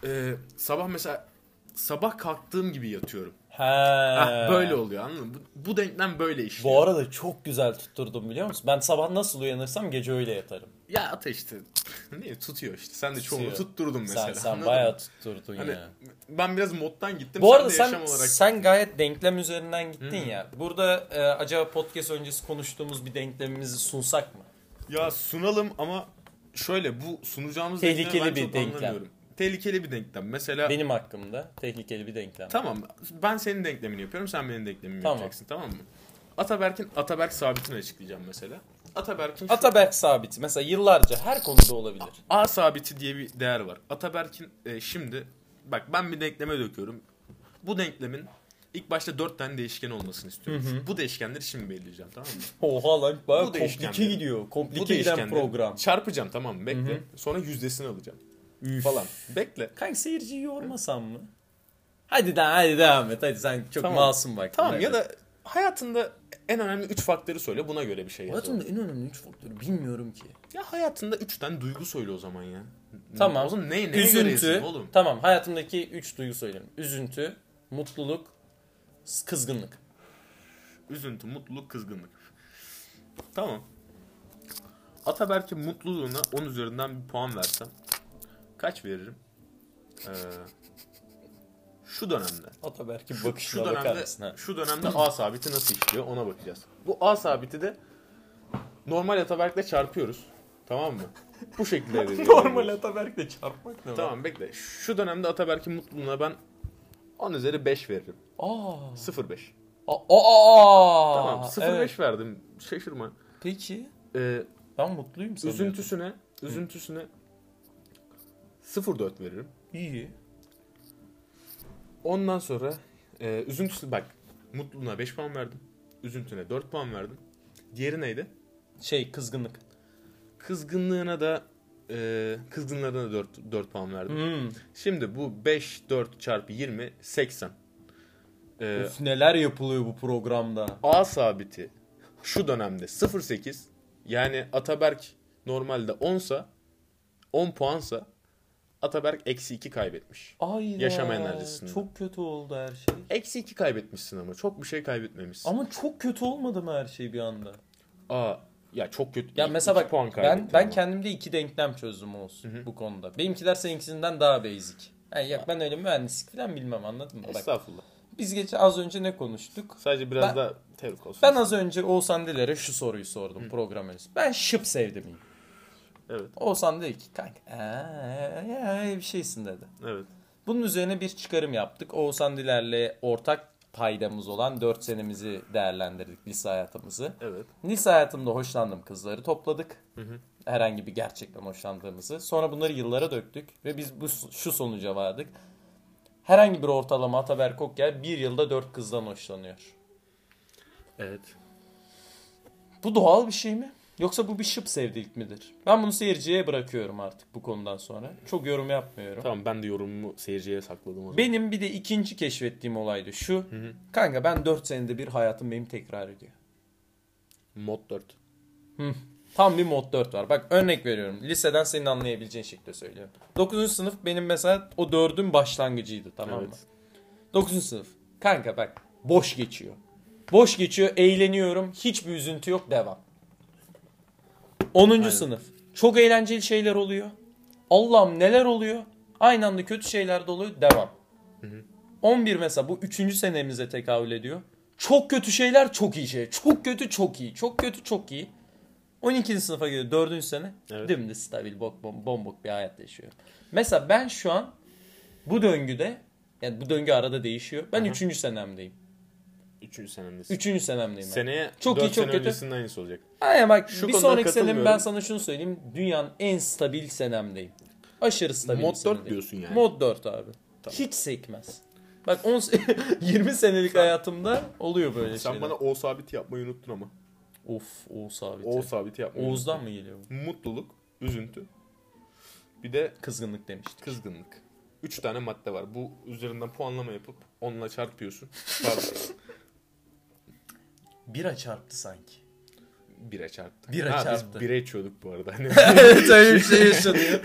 Speaker 2: E, sabah mesela sabah kalktığım gibi yatıyorum.
Speaker 1: Ha.
Speaker 2: Hah, böyle oluyor anladın mı? Bu, bu denklem böyle işliyor.
Speaker 1: Ee. Bu arada çok güzel tutturdum biliyor musun? Ben sabah nasıl uyanırsam gece öyle yatarım.
Speaker 2: Ya ata işte. *laughs* Niye tutuyor işte. Sen de çoğunu
Speaker 1: Tutuyor.
Speaker 2: tutturdun mesela.
Speaker 1: sen sen
Speaker 2: anladın mı?
Speaker 1: bayağı tutturdun
Speaker 2: Hani
Speaker 1: ya.
Speaker 2: ben biraz moddan gittim.
Speaker 1: Bu
Speaker 2: sen
Speaker 1: arada
Speaker 2: de
Speaker 1: sen
Speaker 2: yaşam olarak
Speaker 1: sen gayet denklem üzerinden gittin ya. Burada e, acaba podcast öncesi konuştuğumuz bir denklemimizi sunsak mı?
Speaker 2: ya sunalım ama şöyle bu sunacağımız
Speaker 1: Tehlikeli
Speaker 2: denklemi ben
Speaker 1: bir
Speaker 2: çok
Speaker 1: denklem.
Speaker 2: anlamıyorum. Tehlikeli bir denklem. Mesela
Speaker 1: Benim hakkımda tehlikeli bir denklem.
Speaker 2: tamam ben senin denklemini yapıyorum sen benim denklemimi
Speaker 1: Tamam.
Speaker 2: yapacaksın tamam mı? Ataberk'in Ataberk sabitini açıklayacağım mesela. Ataberk'in şu-
Speaker 1: Ataberk sabiti mesela yıllarca her konuda olabilir.
Speaker 2: A sabiti diye bir değer var. Ataberk'in e, şimdi bak ben bir denkleme döküyorum. Bu denklemin ilk başta dört tane değişken olmasını istiyorum. Bu değişkenleri şimdi belirleyeceğim tamam
Speaker 1: *laughs*
Speaker 2: mı?
Speaker 1: Oha lan bayağı
Speaker 2: Bu
Speaker 1: komplike
Speaker 2: değişkenleri-
Speaker 1: gidiyor.
Speaker 2: Bu
Speaker 1: Komplike giden
Speaker 2: değişkenleri
Speaker 1: program.
Speaker 2: çarpacağım tamam mı? Bekle. Sonra yüzdesini alacağım. Falan. Bekle.
Speaker 1: Kanka seyirciyi yormasan mı? Hadi daha hadi devam et. Hadi sen çok
Speaker 2: Tamam.
Speaker 1: masum bak.
Speaker 2: Tamam ya
Speaker 1: Evet.
Speaker 2: da hayatında en önemli üç faktörü söyle buna göre bir şey yaz.
Speaker 1: Hayatımda en önemli üç faktörü bilmiyorum ki.
Speaker 2: Ya hayatında üç tane duygu söyle o zaman ya.
Speaker 1: Tamam.
Speaker 2: O zaman ne, neye göre
Speaker 1: Üzüntü.
Speaker 2: yazayım oğlum?
Speaker 1: Tamam hayatımdaki 3 duygu söyleyeyim. Üzüntü, mutluluk, s- kızgınlık.
Speaker 2: Üzüntü, mutluluk, kızgınlık. Tamam. Ataberk'in mutluluğuna 10 üzerinden bir puan versem kaç veririm? Ee, şu dönemde.
Speaker 1: Ataberk'in
Speaker 2: Şu,
Speaker 1: bakışına
Speaker 2: şu
Speaker 1: bakar
Speaker 2: dönemde
Speaker 1: mısın? Ha.
Speaker 2: şu dönemde A sabiti nasıl işliyor ona bakacağız. Bu A sabiti de normal Ataberk'le çarpıyoruz. Tamam mı?
Speaker 1: *laughs*
Speaker 2: Bu şekilde elde ediyoruz.
Speaker 1: Ataberk'le çarpmak ne
Speaker 2: Tamam bekle. Şu dönemde Ataberk'in mutluluğuna ben 10 üzeri 5 veririm.
Speaker 1: Aa.
Speaker 2: 0.5.
Speaker 1: Aa. aa,
Speaker 2: Tamam 0.5
Speaker 1: evet.
Speaker 2: verdim. Şaşırma.
Speaker 1: Peki.
Speaker 2: Ee,
Speaker 1: Ben mutluyum sanıyordum.
Speaker 2: Üzüntüsüne, üzüntüsüne 0.4 veririm.
Speaker 1: İyi.
Speaker 2: Ondan sonra e, üzüntüsü bak mutluluğuna 5 puan verdim. Üzüntüne 4 puan verdim. Diğeri neydi?
Speaker 1: Şey kızgınlık.
Speaker 2: Kızgınlığına da e, kızgınlarına 4, 4 puan verdim.
Speaker 1: Hmm.
Speaker 2: Şimdi bu 5, 4 çarpı 20, 80. E,
Speaker 1: Üf, neler yapılıyor bu programda.
Speaker 2: A sabiti şu dönemde 0.8 yani Ataberk normalde 10'sa 10 puansa Ataberk eksi 2 kaybetmiş.
Speaker 1: Ayda,
Speaker 2: Yaşam enerjisinde.
Speaker 1: Çok kötü oldu her şey.
Speaker 2: Eksi 2 kaybetmişsin ama çok bir şey kaybetmemişsin.
Speaker 1: Ama çok kötü olmadı mı her şey bir anda?
Speaker 2: Aa ya çok kötü.
Speaker 1: Ya
Speaker 2: İki
Speaker 1: mesela bak
Speaker 2: puan
Speaker 1: ben
Speaker 2: kaybettin
Speaker 1: ben
Speaker 2: ama.
Speaker 1: kendimde iki denklem çözdüm olsun bu konuda. Benimkiler seninkinden daha basic. Yani ya ben öyle mühendislik falan bilmem anladın mı? Bak,
Speaker 2: Estağfurullah.
Speaker 1: biz geçen az önce ne konuştuk?
Speaker 2: Sadece biraz
Speaker 1: Ben-
Speaker 2: daha tebrik olsun.
Speaker 1: Ben az önce Oğuzhan Diler'e şu soruyu sordum program öncesi. Ben şıp sevdim miyim?
Speaker 2: Evet.
Speaker 1: Oğuzhan dedi ki kanka eee, eee, bir şeysin dedi.
Speaker 2: Evet.
Speaker 1: Bunun üzerine bir çıkarım yaptık. Oğuzhan Diler'le ortak paydamız olan 4 senemizi değerlendirdik lise hayatımızı.
Speaker 2: Evet.
Speaker 1: Lise hayatımda hoşlandığım kızları topladık. Herhangi bir gerçekten hoşlandığımızı. Sonra bunları yıllara döktük ve biz bu şu sonuca vardık. Herhangi bir ortalama Ataberk Okyay bir yılda 4 kızdan hoşlanıyor.
Speaker 2: Evet.
Speaker 1: Bu doğal bir şey mi? Yoksa bu bir şıp sevdilik midir? Ben bunu seyirciye bırakıyorum artık bu konudan sonra. Çok yorum yapmıyorum.
Speaker 2: Tamam ben de yorumumu seyirciye sakladım o zaman.
Speaker 1: Benim bir de ikinci keşfettiğim olaydı şu. Kanka ben 4 senede bir hayatım benim tekrar ediyor.
Speaker 2: Mod 4.
Speaker 1: Tam bir mod 4 var. Bak örnek veriyorum. Liseden senin anlayabileceğin şekilde söylüyorum. 9. sınıf benim mesela o 4'ün başlangıcıydı tamam mı?
Speaker 2: Evet.
Speaker 1: 9. sınıf. Kanka bak boş geçiyor. Boş geçiyor, eğleniyorum. Hiçbir üzüntü yok, devam. 10. sınıf. Çok eğlenceli şeyler oluyor. Allah'ım neler oluyor? Aynı anda kötü şeyler de oluyor, devam. 11 mesela bu 3. senemize tekabül ediyor. Çok kötü şeyler, çok iyi şey. Çok kötü, çok iyi. Çok kötü, çok iyi. 12. sınıfa geliyor 4. sene.
Speaker 2: Evet.
Speaker 1: Dümdüz stabil bok, bom, bombok bir hayat yaşıyor. Mesela ben şu an bu döngüde yani bu döngü arada değişiyor. Ben 3. senemdeyim.
Speaker 2: Üçüncü senemdesin.
Speaker 1: 3. senemdeyim ben.
Speaker 2: Seneye
Speaker 1: Çok
Speaker 2: çok
Speaker 1: iyi,
Speaker 2: 4
Speaker 1: çok
Speaker 2: sene
Speaker 1: kötü.
Speaker 2: öncesinin aynısı olacak.
Speaker 1: Aynen bak
Speaker 2: Şu
Speaker 1: bir
Speaker 2: konuda
Speaker 1: sonraki senem ben
Speaker 2: katılmıyorum.
Speaker 1: sana şunu söyleyeyim. Dünyanın en stabil senemdeyim. Aşırı stabil bir
Speaker 2: Mod 4
Speaker 1: senemdeyim.
Speaker 2: diyorsun yani.
Speaker 1: Mod 4 abi. Hiç sekmez. Bak 10 *laughs* 20 senelik hayatımda oluyor böyle
Speaker 2: Sen
Speaker 1: şeyler.
Speaker 2: bana O sabiti yapmayı unuttun ama.
Speaker 1: Of Oğuz abi.
Speaker 2: O sabiti yapmayı
Speaker 1: Oğuz'dan mı geliyor bu?
Speaker 2: unuttun. Mutluluk, üzüntü. Bir de
Speaker 1: Kızgınlık demiştik.
Speaker 2: kızgınlık. Üç tane madde var. Bu üzerinden puanlama yapıp onunla *laughs* çarpıyorsun. Pardon.
Speaker 1: Bira çarptı
Speaker 2: *laughs*
Speaker 1: sanki.
Speaker 2: Bire çarptı.
Speaker 1: Bire
Speaker 2: ha,
Speaker 1: çarptı.
Speaker 2: Biz bire içiyorduk bu
Speaker 1: *laughs*
Speaker 2: arada. Hani
Speaker 1: evet öyle bir şey yaşanıyor.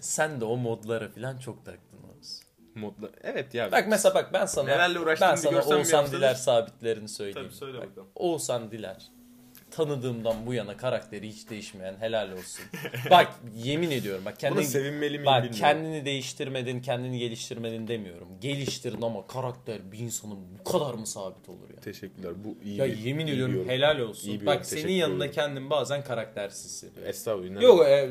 Speaker 1: Sen de o modlara falan çok taktın Oğuz.
Speaker 2: modla. Evet ya.
Speaker 1: Bak mesela bak ben sana
Speaker 2: Nelerle uğraştığını
Speaker 1: ben
Speaker 2: bir
Speaker 1: sana
Speaker 2: görsem bir
Speaker 1: Oğuzhan
Speaker 2: yapsanız-
Speaker 1: Diler sabitlerini söyleyeyim.
Speaker 2: Tabii söyle
Speaker 1: Bak,
Speaker 2: bakalım.
Speaker 1: Oğuzhan Diler tanıdığımdan bu yana karakteri hiç değişmeyen helal olsun. *laughs* bak yemin ediyorum bak
Speaker 2: Buna
Speaker 1: kendini
Speaker 2: sevinmeli miyim
Speaker 1: bak
Speaker 2: bilmiyorum.
Speaker 1: kendini değiştirmedin, kendini geliştirmedin demiyorum. Geliştirin ama karakter bir insanın bu kadar mı sabit olur ya?
Speaker 2: Teşekkürler. Bu iyi
Speaker 1: Ya
Speaker 2: bir-
Speaker 1: yemin
Speaker 2: iyi
Speaker 1: ediyorum
Speaker 2: bir yorum.
Speaker 1: helal olsun.
Speaker 2: İyi bir yorum,
Speaker 1: bak
Speaker 2: teşekkür
Speaker 1: senin yanında
Speaker 2: ediyorum.
Speaker 1: kendim bazen karaktersiz
Speaker 2: *laughs*
Speaker 1: hissediyorum.
Speaker 2: Estağfurullah.
Speaker 1: Yok e,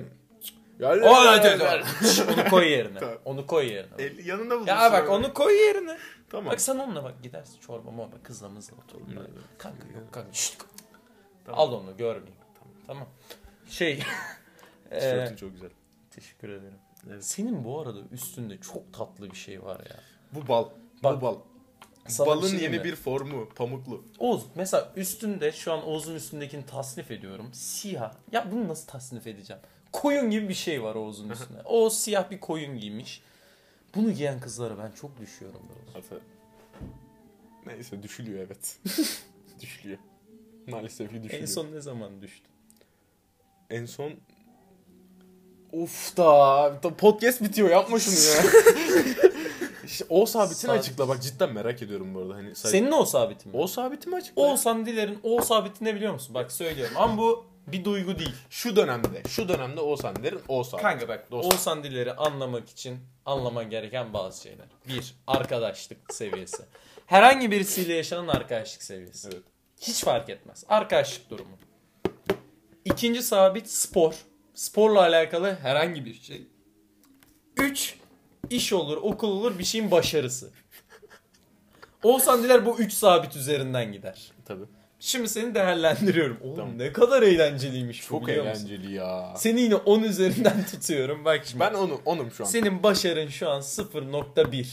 Speaker 2: Ya,
Speaker 1: o-
Speaker 2: *laughs*
Speaker 1: onu koy yerine.
Speaker 2: Tamam.
Speaker 1: onu koy yerine.
Speaker 2: E, yanında bulursun.
Speaker 1: Ya bak onu koy yerine.
Speaker 2: Tamam.
Speaker 1: Bak sen onunla bak gidersin çorba morba kızla mızla oturun. Bak, Kanka yok kanka. şşt, k-
Speaker 2: Tamam.
Speaker 1: Al onu görmeyeyim. Tamam. *laughs* Şey.
Speaker 2: Tişörtün
Speaker 1: eee,
Speaker 2: çok güzel.
Speaker 1: teşekkür ederim.
Speaker 2: Evet.
Speaker 1: Senin bu arada üstünde çok tatlı bir şey var ya.
Speaker 2: Bu bal.
Speaker 1: Bak,
Speaker 2: bu bal.
Speaker 1: Sana
Speaker 2: Balın
Speaker 1: şey diyeyim
Speaker 2: yeni
Speaker 1: mi?
Speaker 2: bir formu. Pamuklu.
Speaker 1: Oğuz mesela üstünde şu an Oğuz'un üstündekini tasnif ediyorum. Siyah. Ya bunu nasıl tasnif edeceğim? Koyun gibi bir şey var Oğuz'un üstünde. Oğuz siyah bir koyun giymiş. Bunu giyen kızlara ben çok düşüyorum. be Oğuz.
Speaker 2: Hatta... Neyse düşülüyor evet. *laughs* düşülüyor. Maalesef ki düşülüyor.
Speaker 1: En son ne zaman düştün?
Speaker 2: En son... Of da da podcast bitiyor yapma
Speaker 1: *laughs*
Speaker 2: şunu ya. işte o sabitini
Speaker 1: Sabit.
Speaker 2: açıkla bak cidden merak ediyorum bu arada. Hani sadece...
Speaker 1: Senin o sabitin mi?
Speaker 2: O sabitimi açıkla.
Speaker 1: Oğuzhan Diler'in o sabiti ne biliyor musun? Bak söylüyorum ama bu bir duygu değil.
Speaker 2: Şu dönemde, şu dönemde Oğuzhan derim Oğuzhan.
Speaker 1: Kanka bak
Speaker 2: Dostum.
Speaker 1: Oğuzhan Diler'i anlamak için anlaman gereken bazı şeyler. Bir, arkadaşlık seviyesi. Herhangi birisiyle yaşanan arkadaşlık seviyesi.
Speaker 2: Evet.
Speaker 1: Hiç fark etmez. Arkadaşlık durumu. İkinci sabit spor. Sporla alakalı herhangi bir şey. Üç, iş olur, okul olur bir şeyin başarısı. Oğuzhan Diler bu üç sabit üzerinden gider.
Speaker 2: Tabii.
Speaker 1: Şimdi seni değerlendiriyorum. Oğlum
Speaker 2: Tamam.
Speaker 1: ne kadar eğlenceliymiş bu
Speaker 2: Çok
Speaker 1: biliyor musun?
Speaker 2: eğlenceli ya.
Speaker 1: Seni yine 10 üzerinden *laughs* tutuyorum. Bak şimdi.
Speaker 2: Ben onu onum şu an.
Speaker 1: Senin başarın şu an 0.1.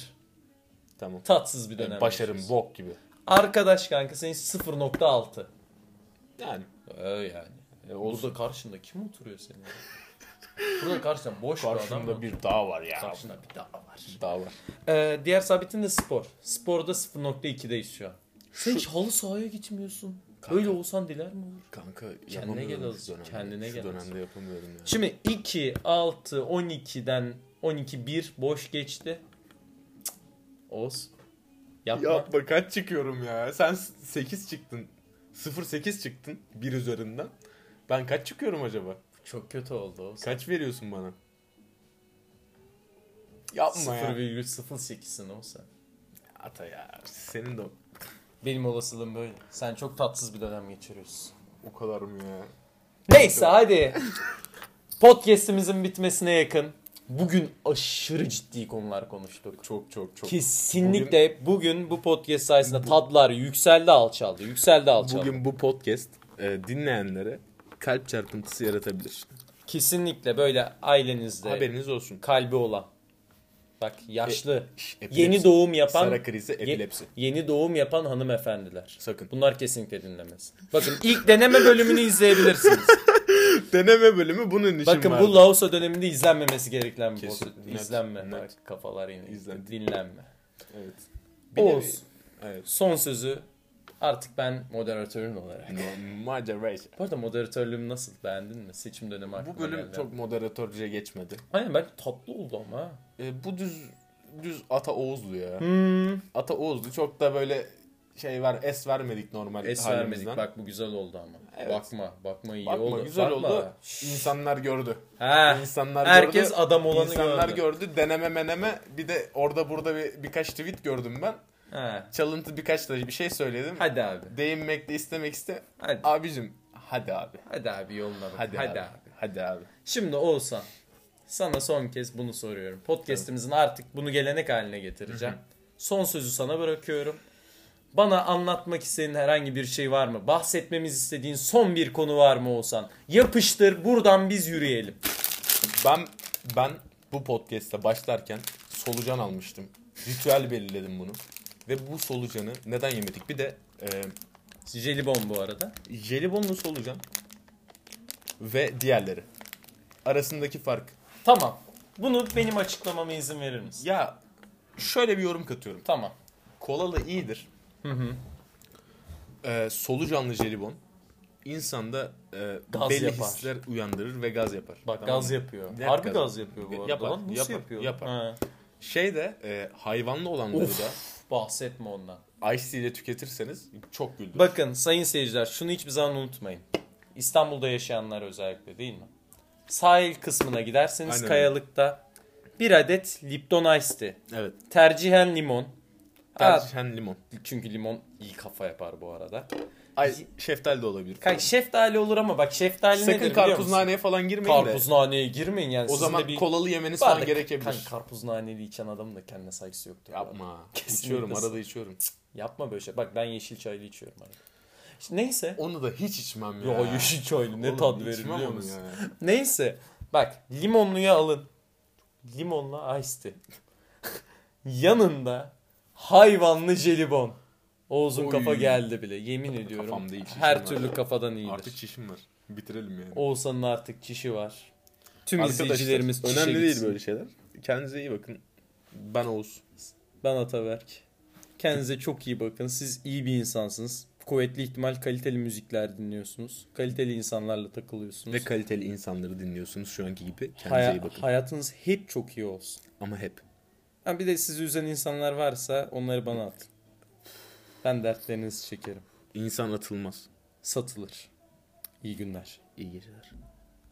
Speaker 2: Tamam.
Speaker 1: Tatsız bir dönem.
Speaker 2: Başarım
Speaker 1: yaşıyorsun.
Speaker 2: bok gibi.
Speaker 1: Arkadaş kanka senin 0.6.
Speaker 2: Yani.
Speaker 1: Öyle yani.
Speaker 2: E,
Speaker 1: Burada
Speaker 2: olsun.
Speaker 1: E, karşında kim oturuyor senin? *laughs* Burada karşısında boş bir adam.
Speaker 2: Karşımda bir dağ var ya.
Speaker 1: Karşında bir dağ var.
Speaker 2: Dağ var.
Speaker 1: Ee, diğer sabitin de spor. Sporda 0.2'deyiz şu an. Sen hiç halı sahaya gitmiyorsun. Öyle olsan diler mi olur?
Speaker 2: Kanka
Speaker 1: Kendine gel
Speaker 2: yapamıyorum
Speaker 1: azıcık,
Speaker 2: şu dönemde.
Speaker 1: kendine
Speaker 2: Şu
Speaker 1: gel
Speaker 2: dönemde
Speaker 1: azıcık.
Speaker 2: yapamıyorum ya.
Speaker 1: Şimdi 2, 6, 12'den 12, 1 boş geçti. Cık. Oğuz. Yapma.
Speaker 2: Yapma kaç çıkıyorum ya. Sen 8 çıktın. 0-8 çıktın bir üzerinden. Ben kaç çıkıyorum acaba?
Speaker 1: Çok kötü oldu Oğuz.
Speaker 2: Kaç veriyorsun bana? Yapma ya.
Speaker 1: 0,08'sin Oğuz.
Speaker 2: Ata ya. Senin de o-
Speaker 1: Benim olasılığım böyle. Sen çok tatsız bir dönem geçiriyorsun.
Speaker 2: o kadar mı ya?
Speaker 1: Neyse hadi. Podcast'imizin bitmesine yakın. Bugün aşırı ciddi konular konuştuk.
Speaker 2: Çok çok çok.
Speaker 1: Kesinlikle bugün, bu podcast sayesinde tadlar yükseldi alçaldı. Yükseldi alçaldı.
Speaker 2: Bugün bu podcast e, dinleyenlere kalp çarpıntısı yaratabilir.
Speaker 1: Kesinlikle böyle ailenizde
Speaker 2: Haberiniz olsun.
Speaker 1: kalbi olan. Bak yaşlı,
Speaker 2: E, Epilepsi.
Speaker 1: yeni doğum yapan
Speaker 2: Sara krizi
Speaker 1: ye-
Speaker 2: epilepsi.
Speaker 1: yeni doğum yapan hanımefendiler.
Speaker 2: Sakın.
Speaker 1: Bunlar kesinlikle dinlemez. Bakın ilk deneme bölümünü
Speaker 2: *laughs*
Speaker 1: izleyebilirsiniz.
Speaker 2: Deneme bölümü bunun için
Speaker 1: Bakın
Speaker 2: vardı.
Speaker 1: bu Laosa döneminde izlenmemesi gereken bir
Speaker 2: Kesin,
Speaker 1: podcast.
Speaker 2: net,
Speaker 1: İzlenme.
Speaker 2: net.
Speaker 1: Bak, kafalar yine
Speaker 2: İzlen.
Speaker 1: dinlenme.
Speaker 2: Evet. Bir nevi-
Speaker 1: Oğuz
Speaker 2: Evet.
Speaker 1: son sözü artık ben moderatörün olarak.
Speaker 2: No- Moderation.
Speaker 1: Bu arada moderatörlüğüm nasıl? Beğendin mi? Seçim dönemi hakkında
Speaker 2: Bu bölüm çok moderatörce geçmedi.
Speaker 1: Aynen ben tatlı oldu ama. ha.
Speaker 2: E, bu düz düz Ata Oğuz'du ya. Ata Oğuz'du. Çok da böyle şey var es vermedik normal
Speaker 1: Es vermedik.
Speaker 2: halimizden.
Speaker 1: Bak bu güzel oldu ama.
Speaker 2: Evet.
Speaker 1: Bakma. Bakma iyi
Speaker 2: Bakma,
Speaker 1: oldu.
Speaker 2: güzel
Speaker 1: Bakma.
Speaker 2: oldu. İnsanlar gördü.
Speaker 1: He.
Speaker 2: İnsanlar
Speaker 1: Herkes
Speaker 2: gördü.
Speaker 1: adam olanı
Speaker 2: İnsanlar
Speaker 1: gördü.
Speaker 2: gördü. Deneme meneme bir de orada burada bir, birkaç tweet gördüm ben.
Speaker 1: He.
Speaker 2: Çalıntı birkaç da bir şey söyledim.
Speaker 1: Hadi abi.
Speaker 2: Değinmek de istemek iste.
Speaker 1: Hadi.
Speaker 2: Abicim hadi abi.
Speaker 1: Hadi abi yoluna bak.
Speaker 2: Hadi, abi. Hadi abi.
Speaker 1: Şimdi Oğuzhan sana son kez bunu soruyorum. Podcast'imizin artık bunu gelenek haline getireceğim. Son sözü sana bırakıyorum. Bana anlatmak istediğin herhangi bir şey var mı? Bahsetmemiz istediğin son bir konu var mı Oğuzhan? Yapıştır buradan biz yürüyelim.
Speaker 2: Ben ben bu podcast'e başlarken solucan almıştım. Ritüel belirledim bunu. Ve bu solucanı neden yemedik? Bir de e,
Speaker 1: Jelibon bu arada.
Speaker 2: jelibonlu solucan ve diğerleri. Arasındaki fark.
Speaker 1: Tamam. Bunu benim açıklamama izin verir misin?
Speaker 2: Ya şöyle bir yorum katıyorum.
Speaker 1: Tamam.
Speaker 2: Kolalı iyidir. E, solucanlı jelibon insanda e,
Speaker 1: Gaz
Speaker 2: belli
Speaker 1: yapar.
Speaker 2: hisler uyandırır ve gaz yapar.
Speaker 1: Bak
Speaker 2: Tamam
Speaker 1: gaz
Speaker 2: mı?
Speaker 1: yapıyor.
Speaker 2: Net
Speaker 1: Harbi
Speaker 2: gaz.
Speaker 1: gaz yapıyor bu arada.
Speaker 2: Yapar,
Speaker 1: Lan nasıl
Speaker 2: yapar,
Speaker 1: yapıyor?
Speaker 2: yapar.
Speaker 1: Ha.
Speaker 2: Şey de e, hayvanlı olanları
Speaker 1: Of.
Speaker 2: da
Speaker 1: Bahsetme ondan.
Speaker 2: Ice ile tüketirseniz çok güldürür.
Speaker 1: Bakın sayın seyirciler şunu hiçbir zaman unutmayın. İstanbul'da yaşayanlar özellikle değil mi? Sahil kısmına giderseniz
Speaker 2: Aynen öyle.
Speaker 1: kayalıkta bir adet Lipton Ice Tea.
Speaker 2: Evet.
Speaker 1: Tercihen limon.
Speaker 2: Tercihen hani limon.
Speaker 1: Aa, çünkü limon iyi kafa yapar bu arada.
Speaker 2: Ay şeftali de olabilir.
Speaker 1: Kanka şeftali olur ama bak şeftali
Speaker 2: Sakın
Speaker 1: nedir biliyor
Speaker 2: karpuz
Speaker 1: musun?
Speaker 2: naneye falan girmeyin de.
Speaker 1: Karpuzhaneye girmeyin yani.
Speaker 2: O
Speaker 1: sizin
Speaker 2: zaman
Speaker 1: de bir
Speaker 2: kolalı yemeniz
Speaker 1: Var
Speaker 2: falan
Speaker 1: da-
Speaker 2: gerekebilir.
Speaker 1: Kanka karpuzhaneli içen adamın da kendine saygısı yoktur.
Speaker 2: Yapma.
Speaker 1: Kesinlikle.
Speaker 2: İçiyorum arada içiyorum.
Speaker 1: Yapma böyle şey. Bak ben yeşil çaylı içiyorum arada. İşte neyse.
Speaker 2: Onu da hiç içmem ya.
Speaker 1: Ya, yeşil çaylı ne
Speaker 2: Oğlum,
Speaker 1: tat verir
Speaker 2: içmem
Speaker 1: biliyor
Speaker 2: onu
Speaker 1: musun?
Speaker 2: ya.
Speaker 1: Neyse. Bak limonluyu alın. Limonla iced tea. *laughs* Yanında hayvanlı jelibon. Oğuz'un
Speaker 2: Oy.
Speaker 1: kafa geldi bile. Yemin ediyorum.
Speaker 2: Kafamda iyi şişim var.
Speaker 1: her türlü kafadan iyidir.
Speaker 2: Artık çişim var. Bitirelim yani.
Speaker 1: Oğuzhan'ın artık çişi var. Tüm
Speaker 2: Arkadaşlar,
Speaker 1: izleyicilerimiz çişe
Speaker 2: önemli
Speaker 1: gitsin.
Speaker 2: değil böyle şeyler. Kendinize iyi bakın. Ben Oğuz.
Speaker 1: Ben Ataberk. Kendinize çok iyi bakın. Siz iyi bir insansınız. Kuvvetli ihtimal kaliteli müzikler dinliyorsunuz. Kaliteli insanlarla takılıyorsunuz.
Speaker 2: Ve kaliteli insanları dinliyorsunuz şu anki gibi. Kendinize
Speaker 1: Haya-
Speaker 2: iyi bakın.
Speaker 1: hayatınız hep çok iyi olsun.
Speaker 2: Ama hep.
Speaker 1: Ha bir de sizi üzen insanlar varsa onları bana atın. Ben dertlerinizi çekerim.
Speaker 2: İnsan atılmaz.
Speaker 1: Satılır. İyi günler.
Speaker 2: İyi geceler.